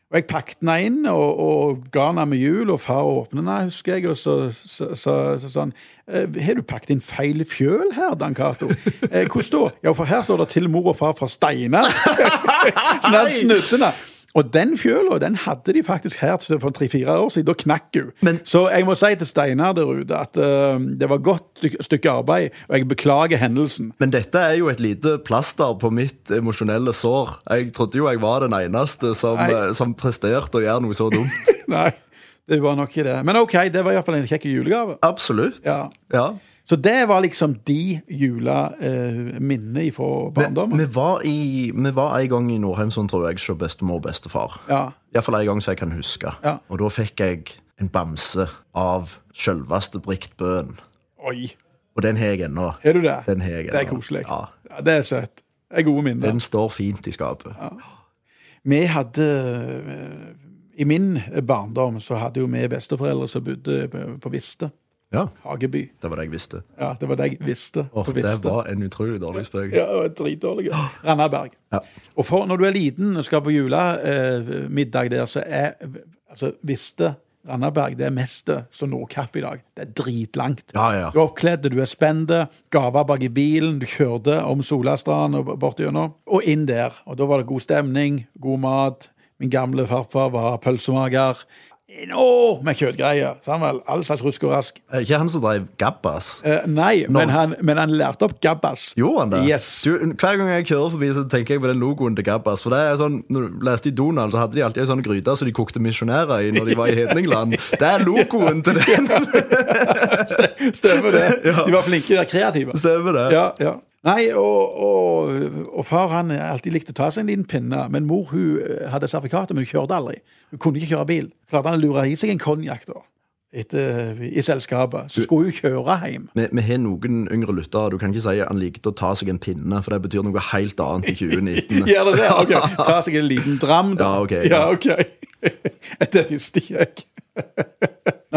Og jeg pakket den inn og, og ga den med jul, og far åpnet den, husker jeg, og så så- så- så sa han «Eh, Har du pakket inn feil fjøl her, Dan Cato? Eh, hvordan da? Ja, for her står det til mor og far fra Steinar. (laughs) så der snudde den. Og den fjøla den hadde de faktisk her til for tre-fire år siden. Da knakk hun. Men- så jeg må si til Steinar der ute at eh, det var godt styk- stykke arbeid, og jeg beklager hendelsen. Men dette er jo et lite plaster på mitt emosjonelle sår. Jeg trodde jo jeg var den eneste som, Nei. eh, som presterte å gjøre noe (laughs) så dumt. Nei, det var nok ikke det. Men OK, det var iallfall en kjekk julegave. Absolutt. Ja. Ja. Så det var liksom de juleminnene eh, fra barndommen. Vi var, i, vi var en gang i Nordheimsund, tror jeg, hos bestemor og bestefar. Ja. Iallfall en gang som jeg kan huske. Ja. Og da fikk jeg en bamse av selveste Brikt Bøen. Oi! Og den har jeg ennå. Er du det? Den har jeg det er ennå. koselig. Ja. Ja. det er søtt. Det er gode minner. Den står fint i skapet. Vi hadde eh, I min barndom så hadde jo vi besteforeldre som bodde på- på Viste. Ja. Hageby. Det var det jeg visste. Ja, det var det jeg visste. Åh, på det Viste. var en utrolig dårlig spøk. Ja, det var dritdårlig. Randaberg. Ja. Og for når du er liten og skal på julemiddag der, så er altså, Viste Randaberg det er mest som Nordkapp i dag. Det er dritlangt. Ja, ja. Du er oppkledd, du er spent, gaver bak i bilen, du kjørte om Solastrand og bort gjennom, og inn der. Og da var det god stemning, god mat. Min gamle farfar var pølsemaker. Nå med kjøttgreier! Så han var all slags rusk og rask. Er Ikke han som drev Gabbas? Eh, nei, men han, men han lærte opp gabbas. Gjorde han det? Yes. Du, hver gang jeg kjører forbi, så tenker jeg på den logoen til Gabbas. For det er sånn, når du leste i Donald, så hadde de alltid en sånn gryte som de kokte misjonærer i når de var i (laughs) Hedningland. Det er logoen til den! (laughs) Stemmer det. De var flinke, de var kreative. Stemmer det? Ja, ja. Nei, og, og, og far han eh, alltid likte å ta seg en liten pinne, men mor hun eh, hadde sertifikatet, men hun kjørte aldri. Hun kunne ikke kjøre bil. Klarte han å lure i seg en konjakk da, etter, i selskapet. Så skulle hun kjøre hjem. Vi, vi har noen yngre lyttere. Du kan ikke si han likte å ta seg en pinne, for det betyr noe helt annet i (laughs) 2019. Gjør det det? (laughs) Ok, Ta seg en liten dram, da. Ja, ok. Ja, ok. (laughs) Det visste ikke (laughs) jeg.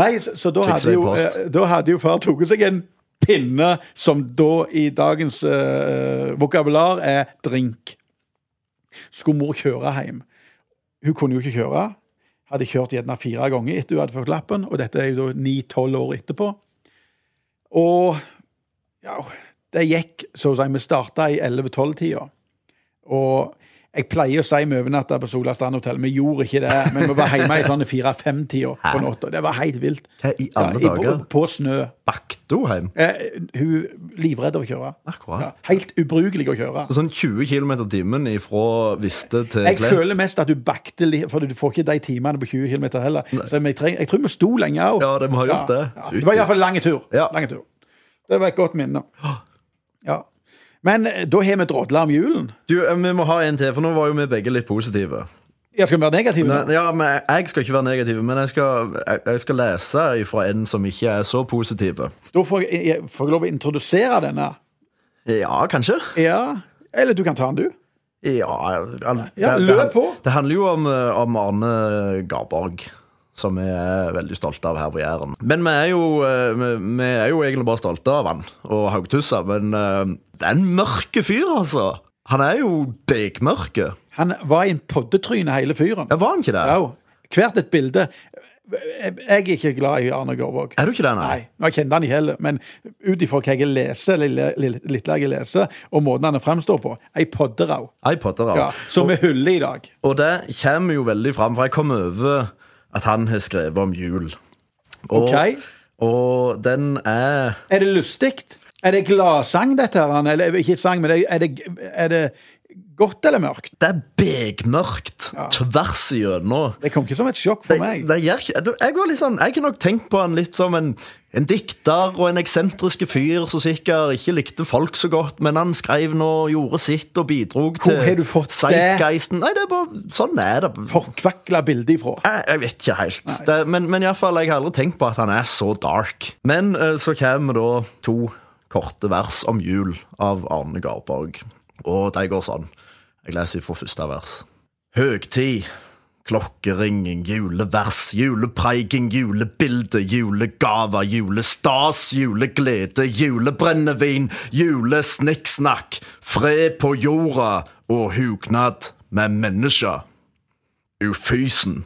Nei, så, så da, Fikser hadde deg jo, post. eh, da hadde jo far tatt seg en pinne, som da i dagens eh, vokabular er drink. Skulle mor kjøre hjem. Hun kunne jo ikke kjøre. Hadde kjørt gjerne fire ganger etter hun hadde fått lappen, og dette er jo da ni-tolv år etterpå. Og ja, det gikk, så å si. Vi starta i 11-12-tida. Og jeg pleier å si vi overnatta på Sola Strand hotell. Vi gjorde ikke det, men vi var hjemme i sånne fire-fem-tida på natta. Det var helt vilt. Hva i alle Ja, i- dager? På, på snø. Baktoheim? Eh, hun livredd av å kjøre. Akkurat. Ja, helt ubrukelig å kjøre. Sånn 20 km i timen ifra Viste til Jeg Klepp. føler mest at du bakte litt, for du får ikke de timene på 20 km heller. Så vi treng, jeg tror vi sto lenge òg. Ja, det må ha gjort det. Ja, det var iallfall lang tur. Ja. Lange tur. Det var et godt minne. Ja. Men eh, da har vi drodla om julen. Du, eh, Vi må ha en til, for nå var jo vi begge litt positive. Jeg skal vi være negativ nå. Nei, Ja, men jeg- jeg skal ikke være negativ, men jeg skal, jeg, jeg skal lese fra en som ikke er så positiv. Da får jeg, jeg, får jeg lov å introdusere denne. Ja, kanskje? Ja. Eller du kan ta den, du. Ja, al- Ja, det, løp det, på. det handler jo om, eh, om Arne Garborg, som vi er veldig stolte av her på Jæren. Men vi er jo, eh, vi, vi er jo egentlig bare stolte av han og Haugtussa, men eh, det er en mørke fyr, altså. Han er jo bekmørke. Han var i en poddetryne, hele fyren. Ja, var han ikke det? Au. Hvert et bilde. Jeg jeg er ikke glad i Arne Garvåg. Er du ikke det, nei? Nei, jeg kjente han i heller, men ut ifra hva jeg leser, lille, lille, lille jeg leser, og måten han fremstår på, ei podderau, iPodder, ja, som vi hyller i dag. Og det kommer jo veldig fram, for jeg kom over at han har skrevet om jul. Og, Ok. og den er Er det lustig? Er det gladsang, dette her? Anne? Eller ikke sang, men er det, er det godt eller mørkt? Det er begmørkt tvers igjennom. Det kom ikke som et sjokk for meg. Det gjør ikke du, Jeg var litt sånn, jeg kunne nok tenkt på han litt som en, en dikter og en eksentrisk fyr som sikkert ikke likte folk så godt, men han skrev nå, gjorde sitt og bidrog til har du fått det? zeitgeisten. Nei, det er bare, sånn er det. Forkvakla bilde ifra. Jeg, Eh, jeg vet ikke helt. Det, men men i alle fall, jeg har aldri tenkt på at han er så dark. Men eh, så kommer da to korte vers om jul av Arne Garborg. Og de går sånn. Jeg leser fra første vers. Høgtid. Klokkeringing, julevers, julepreiking, julebilde, julegaver, julestas, juleglede, julebrennevin, julesnikksnakk, fred på jorda og hugnad med mennesker. Ufysen,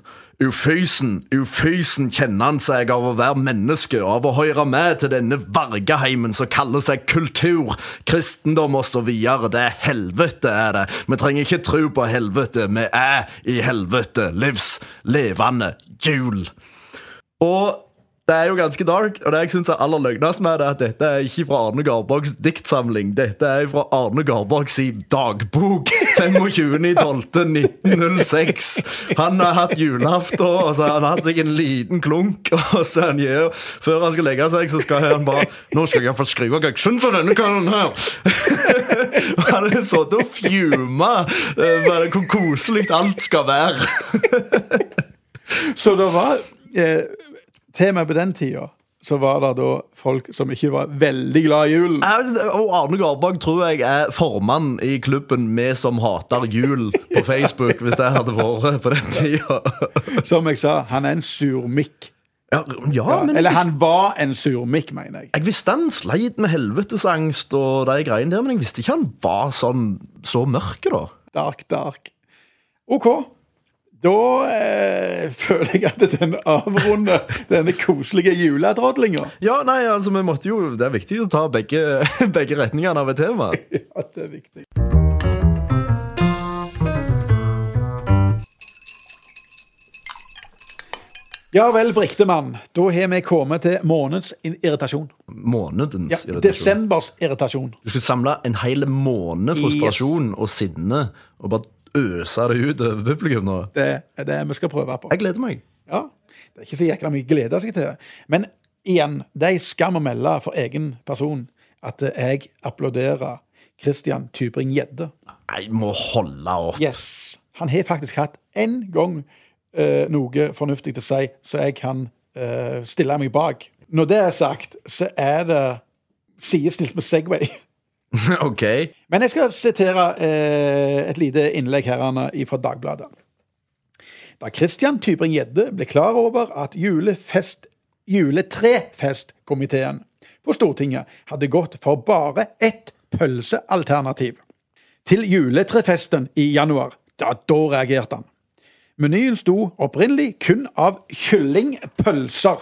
ufysen, ufysen kjenner han seg av å være menneske, av å høre med til denne vargeheimen som kaller seg kultur, kristendom og så videre. Det er helvete, er det. Vi trenger ikke tro på helvete, vi er i helvete. Livs levende jul. Og det er jo ganske dark, og det jeg syns er aller løgnest med det, er at dette er ikke fra Arne Garborgs diktsamling. Dette er fra Arne Garborgs i dagbok (laughs) 25.12.1906. Han har hatt julaften, og så har han hatt seg en liten klunk, og så han gir, før han skal legge seg, så skal han bare Nå skal jeg få skrive hva jeg syns om denne karen her. (laughs) Han har sittet og fjuma eh, bare hvor koselig alt skal være. Så det var eh, Temaet på den tida så var det da folk som ikke var veldig glad i julen. Jeg- Og Arne Garborg tror jeg er formann i klubben Vi som hater jul på Facebook, hvis det hadde vært på den tida. Som jeg sa, han er en surmikk. Ja, ja, men jeg Eller visste, han var en surmikk, mener jeg. jeg visste han sleit med helvetesangst og de greiene der, men jeg visste ikke han var sånn så mørk, da. Dark, dark. OK. Da eh, (laughs) føler jeg at den avrunder denne koselige juledrodlinga. Ja, nei, altså, vi måtte jo Det er viktig å ta begge, (laughs) begge retningene av et tema. At det er viktig. Ja vel, Briktemann. Da har vi kommet til månedens in- irritasjon. Ja, Månedens irritasjon. desembers irritasjon. Du skulle samle en hel måned frustrasjon og sinne og bare øse det ut over publikum nå. Det er det vi skal prøve på. Jeg gleder meg. Ja, Det er ikke så jækla mye å glede seg til. Men igjen, det er en skam å melde for egen person at jeg applauderer Christian Tybring-Gjedde. Nei, må holde opp. Yes. Han har faktisk hatt én gang eh, noe fornuftig til å si, så jeg kan eh, stille meg bak. Når det er sagt, så er det sidestilt med Segway. (laughs) (laughs) Ok. Men jeg skal sitere eh, et lite innlegg her Anna, fra Dagbladet. Da Christian Tybring-Gjedde ble klar over at julefest, juletrefestkomiteen på Stortinget hadde gått for bare ett pølsealternativ til juletrefesten i januar, da, da reagerte han. Menyen sto opprinnelig kun av kyllingpølser.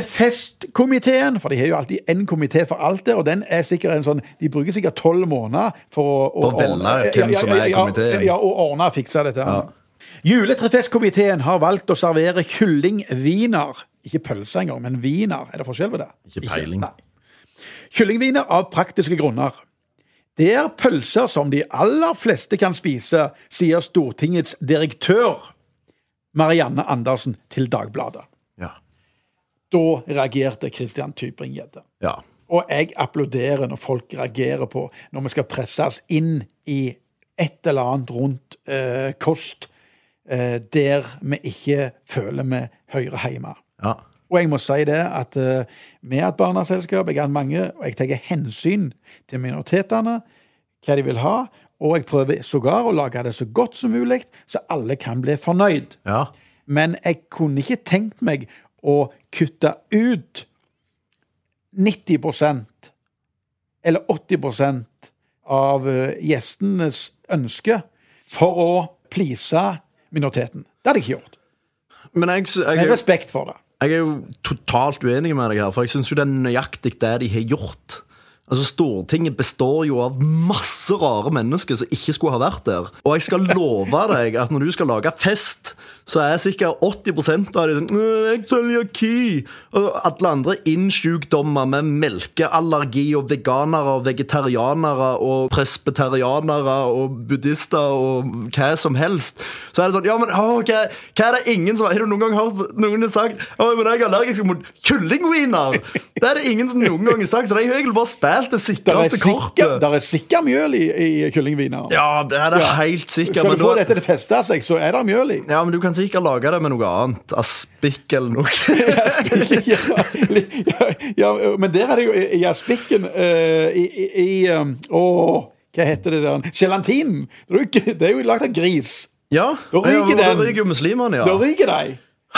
Julefestkomiteen, for de har jo alltid en komité for alt det, og den er sikkert en sånn De bruker sikkert tolv måneder for å, å For å velge ordne- hvem som er i komiteen. Ja, og ordne og fikse dette. her. Juletrefestkomiteen har valgt å servere kyllingviner. Ikke pølse engang, men viner. Er det forskjell på det? Ikke peiling. nei. Kyllingviner av praktiske grunner. Det er pølser som de aller fleste kan spise, sier Stortingets direktør Marianne Andersen til Dagbladet. Ja. Da reagerte Christian Tybring-Gjedde. ja. Og jeg applauderer når folk reagerer på når vi skal presses inn i et eller annet rundt eh, kost eh, der vi ikke føler vi hører hjemme. ja. Og jeg må si det at eh, vi er et barneselskap, jeg er mange, og jeg tar hensyn til minoritetene, hva de vil ha, og jeg prøver sågar å lage det så godt som mulig, så alle kan bli fornøyd. Ja. Men jeg kunne ikke tenkt meg å kutte ut 90 eller 80 av eh, gjestenes ønske for å please minoriteten. Det hadde jeg ikke gjort. Men jeg, sy- Med jeg, respekt for det. jeg er jo totalt uenig med deg her, for jeg syns jo det er nøyaktig det de har gjort. Altså, Stortinget består jo av masse rare mennesker som ikke skulle ha vært der. Og jeg skal love deg at når du skal lage fest, så er sikkert 80 av dem sånn «Øh, Jeg cøliaki! Og alle andre innsjukdommer med melkeallergi og veganere og vegetarianere og presbeterianere og buddhister og hva som helst. Så er det sånn Ja, men å, hva, hva er det ingen som Har du noen gang hørt noen har sagt Å, men jeg er allergisk mot kyllingwiener? Det er det ingen som noen gang har sagt, så de har egentlig bare spilt det Det er, sikreste sikker, kortet. der er sikker mjøl i, i kyllingviner. Ja, det er det helt sikkert. Skal men du få da- dette til å feste seg, så er det mjøl i. Ja, men du kan sikkert lage det med noe annet. Aspik eller (laughs) noe. (laughs) ja, li- ja, ja, men der er det jo i- i aspikken eh, i, i, i um, Å, hva heter det der? Gelatinen! Det er jo ikke- det er jo lagd av gris. ja, Da ryker ja, Da den. ryker jo muslimene, Da ja. ryker de!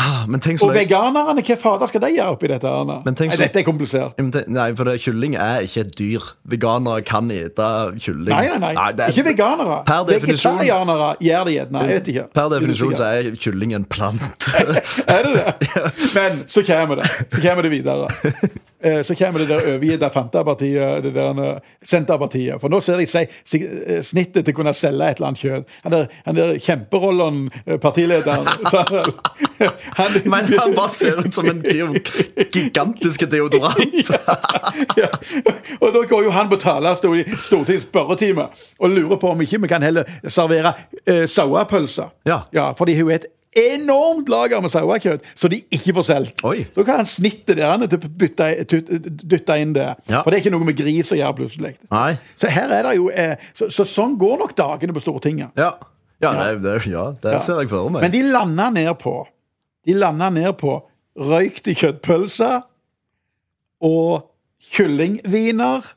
Ah, Men tenk så Og løye. veganerne, hva fader skal de gjøre oppi dette? Anna? Men tenk Nei, så- dette er komplisert. Ja, men det- Nei, for det, kylling er ikke et dyr. Veganere kan ete kylling. Nei, nei, nei. det er- Ikke veganere. Per definisjon- Vegetarianere gjør det gjerne. Jeg vet ikke. Per definisjon så er kylling en plante. (laughs) Er det det? Men så kommer det. Så kommer det videre. Eh, Så kommer det der overgitte Fantapartiet, det der eh, Senterpartiet. For nå ser de seg sig- eh, snittet til å kunne selge et eller annet kjønn. Han der, han der kjemperollen, eh, partilederen (laughs) så han, han, (laughs) Men han bare ser ut som en deo- gigantisk deodorant. (laughs) ja. Og da går jo han på talerstolen i Stortingets spørretime og lurer på om ikke vi kan heller servere eh, sauepølse. Ja. fordi hun er et enormt lager med sauekjøtt som de ikke får solgt. Oi. Da kan han snitte der han er til å bytte- tut- dytte inn det. Ja. For det er ikke noe med gris å gjøre plutselig. Nei. Så her er det jo eh, så, så sånn går nok dagene på Stortinget. Ja, ja det, det, ja, det ser jeg for meg. Men de landa ned på De landa ned på røykte kjøttpølser og kyllingviner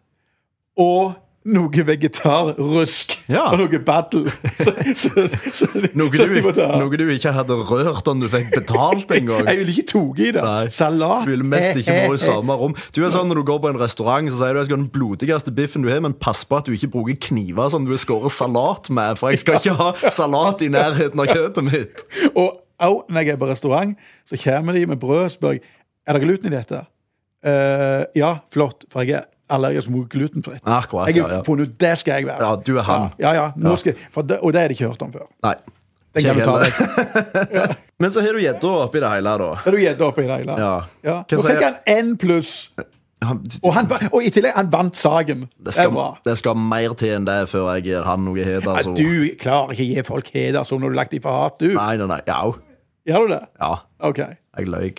og noe vegetarrusk Ja. og noe battle. Så, så, så, noe, så de du, må ta. noe du ikke hadde rørt om du fikk betalt engang. Jeg ville ikke tatt i det. Nei. Salat Du ville mest (laughs) ikke vært i eh, eh, samme rom. Du er sånn Når du går på en restaurant, så sier du jeg skal ha den blodigste biffen du har, men pass på at du ikke bruker kniver som du skårer salat med, for (laughs) jeg skal ikke ha salat i nærheten av kjøttet mitt. Og au, når jeg er på restaurant, så kommer de med brød og spør jeg, er det gluten i dette. «Eh, ja, flott, for jeg er allergisk mot glutenfritt. Akkurat, jeg har ja, ja. funnet ut det skal jeg være. Ja, du er han. Ja, ja, nå Skal, for det, og det har de ikke hørt om før. Nei. Den ikke kan du ta heller. vekk. Men så har du gjedda oppi det hele, da. Er du gjedda oppi det hele? Ja. Ja. Hva Nå sier- fikk han én pluss, Han- og, han, va- og i tillegg han vant saken. Det Det er skal, bra. det skal mer til enn det før jeg gir han noe At hedersord. du klarer ikke å gi folk heder som når du har lagt dem for hat, du. Nei, nei, nei. Jau. Gjør du det? Ja, OK. jeg løy.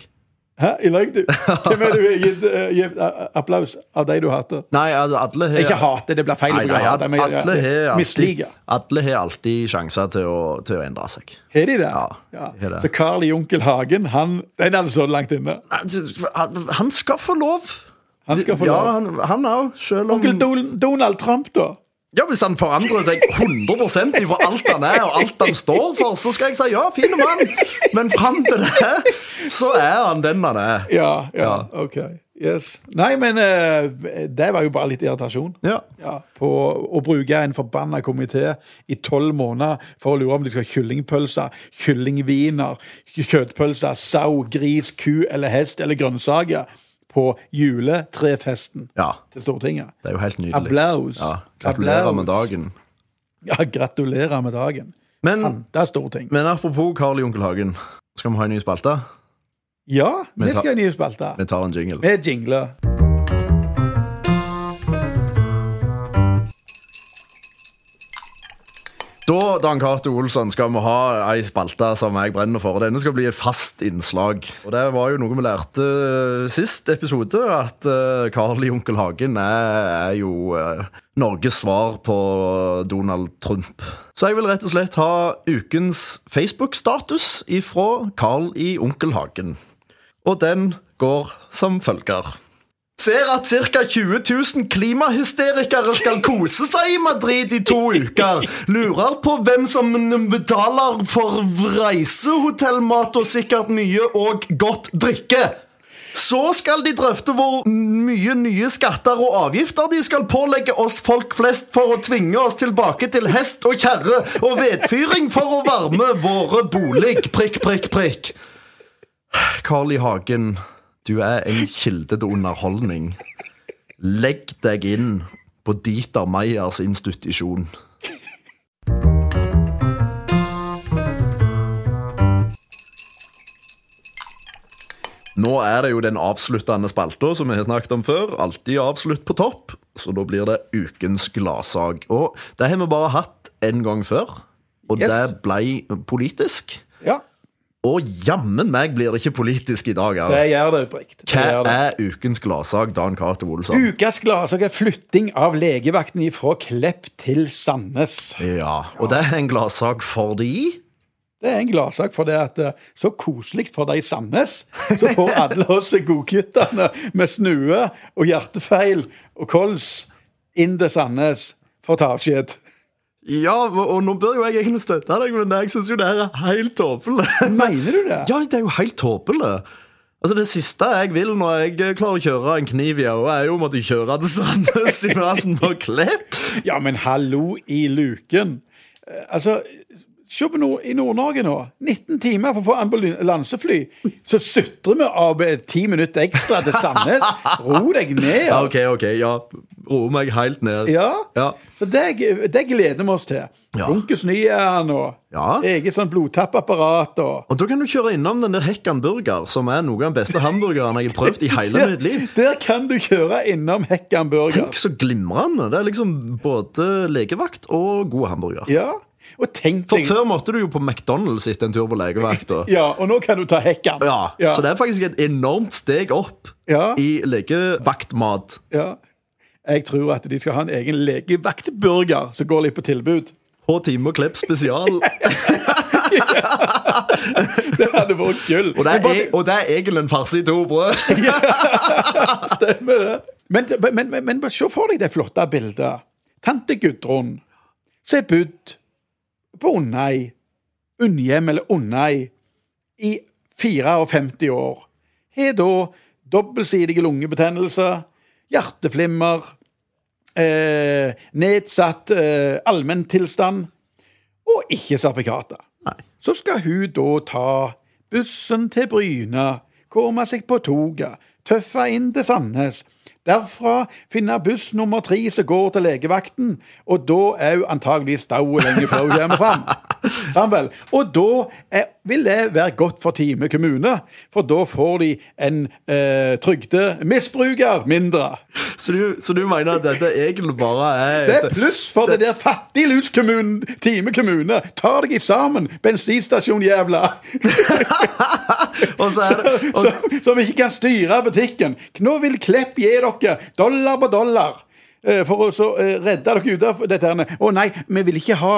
Hæ, i løy du? Hvem er det du har gitt eh, gitt, eh, applaus av de du hater? Nei, altså, alle har Ikke hate, det blir feil. Nei, å nei, bruke hate, men- eh, alle har alltid, Misliker. alle har alltid sjanser til å, til å endre seg. Har de det? Ja, har det. Så Carl i Onkel Hagen, han, den er altså så langt inne. Han- Han skal få lov. Han skal få ja, lov. han- han òg, selv om Onkel Don Donald Trump, da? Ja, Hvis han forandrer seg 100 ifra alt han er og alt han står for, så skal jeg si ja, fine mann. Men fram til det, så er han den han er. Ja, ja, OK. Yes. Nei, men eh, det var jo bare litt irritasjon. Ja. Ja, på å bruke en forbanna komité i tolv måneder for å lure om de skal ha kyllingpølser, kyllingviner, kjøttpølser, sau, gris, ku eller hest eller grønnsaker på juletrefesten ja. til Stortinget. Det er jo helt nydelig. Applaus. Ja, Gratulerer med Applaus. dagen. Ja, gratulerer med dagen. Men, Det er storting. men apropos Carl i Onkel Hagen. Skal vi ha en ny spalte? Ja, vi Men ta- skal ha en ny spalte. Vi tar en jingle. Vi jingler. Da Dan Cato Olsson, skal vi ha ei spalte som jeg brenner for. og Denne skal bli et fast innslag. Og Det var jo noe vi lærte eh, sist episode, at eh, Carl i Onkel Hagen er, er jo eh, Norges svar på Donald Trump. Så jeg vil rett og slett ha ukens Facebook-status ifra Carl i Onkel Hagen. Og den går som følger. Ser at ca. 20 000 klimahysterikere skal kose seg i Madrid i to uker. Lurer på hvem som betaler for reise, hotellmat og sikkert mye og godt drikke. Så skal de drøfte hvor mye nye skatter og avgifter de skal pålegge oss folk flest for å tvinge oss tilbake til hest og kjerre og vedfyring for å varme våre bolig. Prikk, prikk, prikk. Carl I. Hagen, du er en kilde til underholdning. Legg deg inn på Dieter Meyers institusjon. Nå er det jo den avsluttende spalta som vi har snakket om før. Alltid avslutt på topp, så da blir det ukens gladsak. Og det har vi bare hatt én gang før, og Yes. det ble politisk. Ja, Og jammen meg blir det ikke politisk i dag. det Her. gjør det, Brikt. Det Hva gjør det. er ukens gladsak, Dan Cato Olsson? Ukas gladsak er flytting av legevakten fra Klepp til Sandnes. Ja, og det er en gladsak fordi Det er en gladsak, for det at eh, så koselig for de i Sandnes. Så får alle oss godguttene med snue og hjertefeil og kols inn til Sandnes for å ta avskjed. Ja, og og nå bør jo jeg egentlig støtte deg, men jeg syns jo det her er helt tåpelig. Mener du det? Ja, det er jo helt tåpelig. Altså, Det siste jeg vil når jeg eh, klarer å kjøre en kniv i øyet, er jo å måtte kjøre til Sandnes i plassen for Klepp. Ja, men hallo i luken. Eh, Altså, se på nå i Nord-Norge nå. 19 timer for å få ambulansefly. Så sutrer vi av eh, 10 minutter ekstra til Sandnes. Ro deg ned. Ja, ok, ok, ja. Roer meg helt ned. Ja. ja. Så det, det gleder vi oss til. Ja. Runkes Nyjern og Ja. eget sånn blodtappapparat og Og da kan du kjøre innom den der Hekkan Burger, som er noe av den beste hamburgeren jeg har prøvd i hele mitt liv. Der kan du kjøre innom Hekkan Burger. Tenk så glimrende! Det er liksom både legevakt og god hamburger. Ja. Og tenk For deg før måtte du jo på McDonald's etter en tur på legevakta. (laughs) Ja, og nå kan du ta Hekkan. Ja, Ja. Så det er faktisk et enormt steg opp Ja. i legevaktmat. Ja. Jeg tror at de skal ha en egen legevaktburger som går litt på tilbud. (laughs) På time og klepp spesial. Det hadde vært gull. Og det Men er, bare- (laughs) e- og det er egentlig en farse i to brød. Stemmer det. Men, men, men, men bare se for deg det flotte bildet. Tante Gudrun, som er bodd på Undheim, Undhjem eller Undheim, i 54 år, har da dobbeltsidige lungebetennelser, hjerteflimmer, eh, nedsatt eh, allmenntilstand og ikke sertifikater. Nei. Så skal hun da ta bussen til Bryne, komme seg på toget, tøffe inn til Sandnes. Derfra finne buss nummer tre som går til legevakten, og da er hun antageligvis daud lenge før hun kommer fram. Fram vel. Og da er, vil det være godt for Time kommune, for da får de en eh, trygdemisbruker mindre. Så du, så du mener at dette egentlig bare er Det er pluss for det der fattigluskommunen, Time kommune. Ta deg i sammen, bensinstasjon jævla! Og så er det (laughs) og, som, som ikke kan styre butikken. Nå vil Klepp gi dere dollar på dollar eh, for å så eh, redde dere ut av dette. her. Å nei, vi vil ikke ha.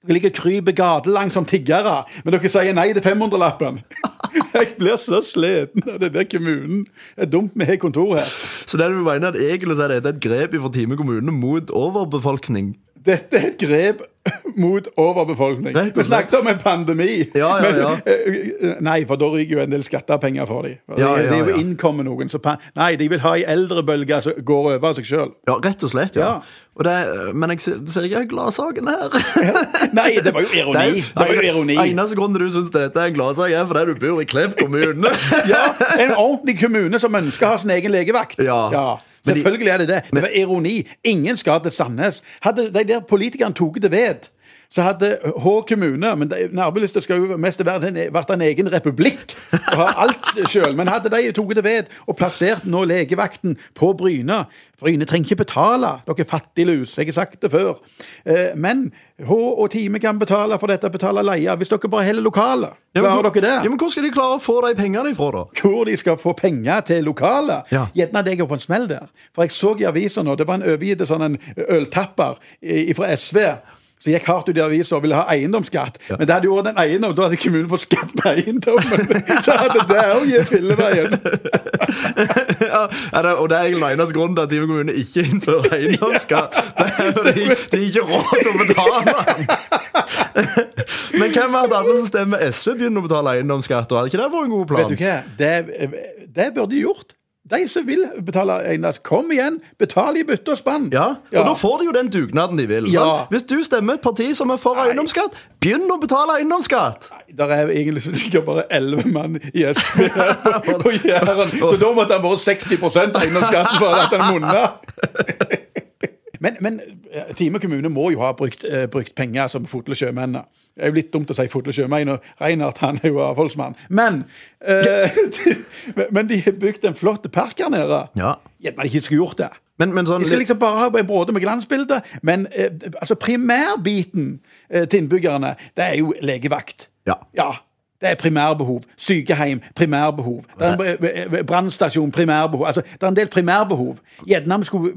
Vi ligger kryper gatelangs som tiggere, men dere sier nei til 500-lappen. (laughs) Jeg blir så sliten av den der kommunen. Det er dumt vi har kontor her. Så det du mener at egentlig så er dette et grep fra Time kommune mot overbefolkning? Dette er et grep (laughs) mot overbefolkning. Rett og Vi snakket om en pandemi. Ja, ja, ja. Men, eh, nei, for da ryker jo en del skattepenger for dem. De, Ja, ja, de er jo ja. innkommet noen. Så pa nei, de vil ha ei eldrebølge som går over av seg sjøl. Ja, rett og slett. ja, Ja. Og det, er- Men jeg ser, ser ikke gladsaken her. (laughs) Nei, det var jo ironi. Det var jo ironi. Eneste grunn til du syns dette er en gladsak, er fordi du bor i Klepp (laughs) kommune. Ja, En ordentlig kommune som ønsker å ha sin egen legevakt. Ja. Men de- Selvfølgelig er det det. Det var ironi. Ingen skal til Sandnes. Hadde de der politikerne tatt det ved, så hadde Hå kommune Men det- nabolistet skal jo mest være en- vært en egen republikk og ha alt sjøl. Men hadde de tatt det ved og plassert nå legevakten på Bryne Bryne trenger ikke betale, dere fattiglus. Jeg har sagt det før. Eh, Men Hå og Time kan betale for dette, betale leie. Hvis dere bare holder lokalet, klarer dere det? Ja, men Hvor skal de klare å få de pengene ifra, da? hvor de skal få penger til lokalet. Ja. Gjerne at jeg er på en smell der. For jeg så i avisa nå, det var en overgitt sånn en øltapper fra SV. som gikk hardt ut i avisa og ville ha eiendomsskatt. Men det hadde jo vært en eiendom, da hadde kommunen fått skatt på (laughs) eiendommen! Så hadde det òg gitt filleveien. (laughs) Ja, er det, og det er egentlig eneste grunnen til at Time kommune ikke (laughs) innfører eiendomsskatt. Det er fordi (laughs) de, de ikke har råd til å (laughs) betale. Men hvem er det alle som stemmer SV, begynner å betale eiendomsskatt? Og hadde ikke det vært en god plan? Vet du hva? Det, det burde de gjort. De som vil betale eiendomsskatt, kom igjen! Betal i bøtte og spann! Ja, og Ja. da får de jo den dugnaden de vil. Ja. sant? Hvis du stemmer et parti som er for eiendomsskatt, begynn å betale eiendomsskatt! Der er egentlig sikkert bare 11 mann i (laughs) SV her på- på Jæren, så da måtte han vært 60 eiendomsskatten for at han munna. (laughs) Men, men eh, Time kommune må jo ha brukt, eh, brukt penger som fotle sjømennene. Det er jo litt dumt å si fotle sjømenn, og Reinhardt han er jo avholdsmann. Men, eh, (laughs) men de har bygd en flott park her nede. Ja. Gjerne de ikke skulle gjort det. Men, men sånn De skal liksom bare ha en bråde med glansbilder, men eh, altså primærbiten eh, til innbyggerne, det er jo legevakt. Ja. Ja. Det er primærbehov. Sykehjem, primærbehov. Det er en br- br- Brannstasjon, primærbehov. Altså, det er en del primærbehov. Gjerne vi skulle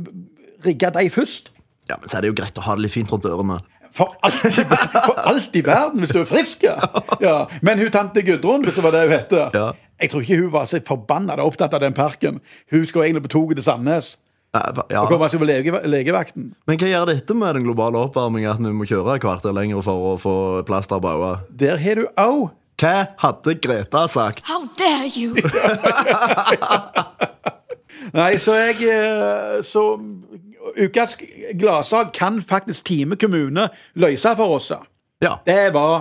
rigge de først. ja, men så er det jo greit å ha det litt fint rundt ørene. For alt, i, ver- for alt i verden, hvis du er frisk! ja. Ja. Men hun tante Gudrun, hvis det var det hun heter Ja. Jeg tror ikke hun var så forbanna opptatt av den parken. Hun skulle egentlig på toget til Sandnes Eh, Ja. og komme seg på lege, legevakten. Men hva gjør dette med den globale oppvarmingen at vi må kjøre et kvarter lenger for å få plaster på øynene? Der har du òg Hva hadde Greta sagt? How dare you! Nei, så jeg eh, Så ukas gladsak kan faktisk Time kommune løse for oss. Ja. Det var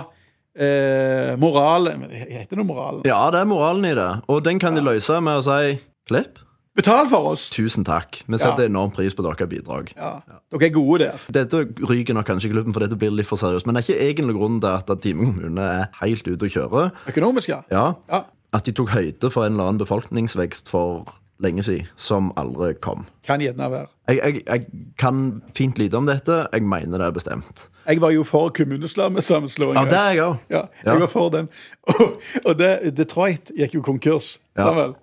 eh, moralen Heter det moralen? ja, det er moralen i det. Og den kan de løse med å si klipp. Betal for oss! Tusen takk. Vi setter enorm pris på deres bidrag. Ja. Dere er gode der. Dette ryker nok kanskje i klubben, for dette blir litt for seriøst. Men det er ikke egentlig grunnen til at at Time kommune er helt ute å kjøre. Økonomisk, ja. Ja, Ja. At de tok høyde for en eller annen befolkningsvekst for lenge siden, som aldri kom. Kan gjerne være. Jeg, jeg, jeg kan fint lite om dette. Jeg mener det er bestemt. Jeg var jo for kommuneslammesammenslåing. Ja, det er jeg òg. Ja, jeg Ja. var for den. Og, og det, Detroit gikk jo konkurs. Ja. Samuel.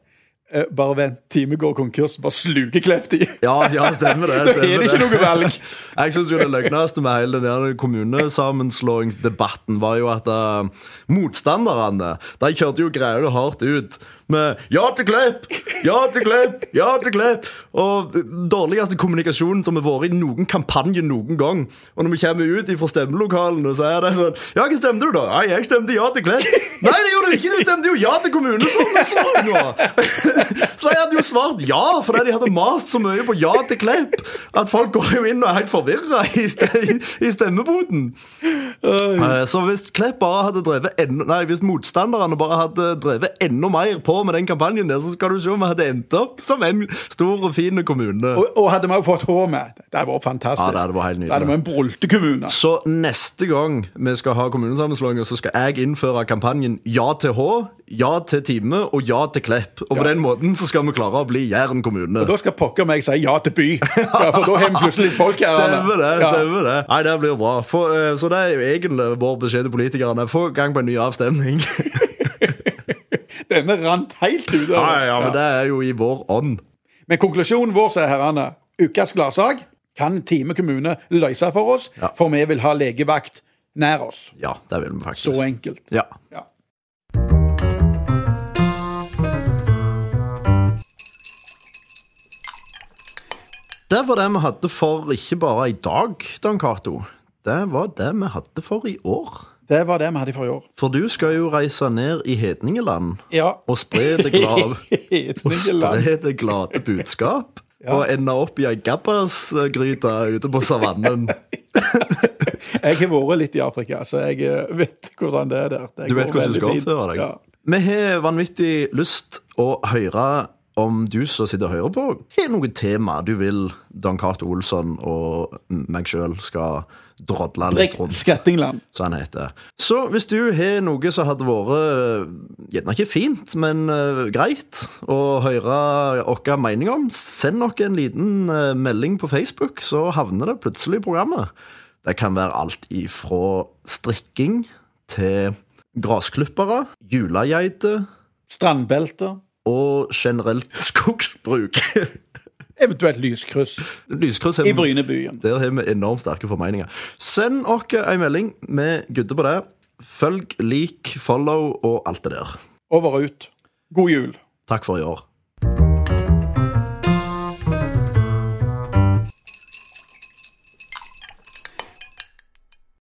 Eh, Bare vent, Time går konkurs, bare sluker Klepp de. Ja, ja, stemmer det. Da er Stemmer (laughs) det ikke noe valg. (laughs) Jeg syns det løgneste med hele den der kommunesammenslåingsdebatten var jo at eh, motstanderne de kjørte jo greiene hardt ut med 'ja til Klepp', 'ja til Klepp', 'ja til Klepp'. Og dårligste kommunikasjonen som har vært i noen kampanje noen gang. Og når vi kommer ut fra stemmelokalene, så er det sånn 'ja, hva stemte du, da?' 'Nei, jeg stemte ja til Klepp'. (laughs) 'Nei, det gjorde du ikke, du stemte jo ja til Sånn, kommunesammenslåinga'. (laughs) Så de hadde jo svart ja, fordi de hadde mast så mye på ja til Klepp at folk går jo inn og er helt forvirra i, ste- i stemmeboden. Eh, Så hvis Klepp bare hadde drevet enda, Nei, hvis motstanderne bare hadde drevet enda mer på med den kampanjen der, så skal du se om vi hadde endt opp som en stor og fin kommune. Og, og hadde vi jo fått H med, det hadde vært fantastisk. Ja, det hadde vært helt nydelig. Da hadde vi en broltekommune. Så neste gang vi skal ha kommunesammenslåinger, så skal jeg innføre kampanjen Ja til H, Ja til Time og Ja til Klepp. Og på den måten så skal vi klare å bli Jæren kommune. Da skal pokker meg si ja til by, ja, for da har vi plutselig litt folk her. Anne. Stemmer det. Ja. stemmer det Nei, det blir bra. Få, eh, så det er jo egentlig vår beskjed til politikerne. Få gang på en ny avstemning. Denne rant helt ut. av det. Ja, (laughs) ja, Ja. men det er jo i vår ånd. Men konklusjonen vår, sier herrene, ukas gladsak kan Time kommune løse for oss, Ja. for vi vil ha legevakt nær oss. Ja, det vil vi faktisk. Så enkelt. Ja. Ja. Det var det vi hadde for ikke bare i dag, Dan Cato. Det var det vi hadde for i år. Det var det vi hadde i forrige år. For du skal jo reise ned i Hedningeland Ja. og spre det (laughs) glade Og Hedningeland. spre det glade budskap. Og ende opp i ei gabbasgryte ute på savannen. Jeg har vært litt i Afrika, så jeg eh, vet hvordan det er der. Det Du vet går hvordan du veldig skal fint. oppføre deg. Ja. Vi har vanvittig lyst å høre om du som sitter og hører på, har noe tema du vil Dan Cato Olsson og meg sjøl skal drodle litt Brekt rundt. Skrettingland. Så, han heter. så hvis du har noe som hadde vært gjerne ikke fint, men eh, greit å høre vår mening om, send oss en liten eh, melding på Facebook, så havner det plutselig i programmet. Det kan være alt ifra strikking til grasklippere, julegeiter Strandbelter. og generelt skogsbruk. (laughs) eventuelt lyskryss Lyskryss i Brynebyen. Der har vi enormt sterke formeninger. Send oss en melding. Vi gudder på det. Følg, lik, follow og alt det der. Over og ut. God jul. Takk for i år.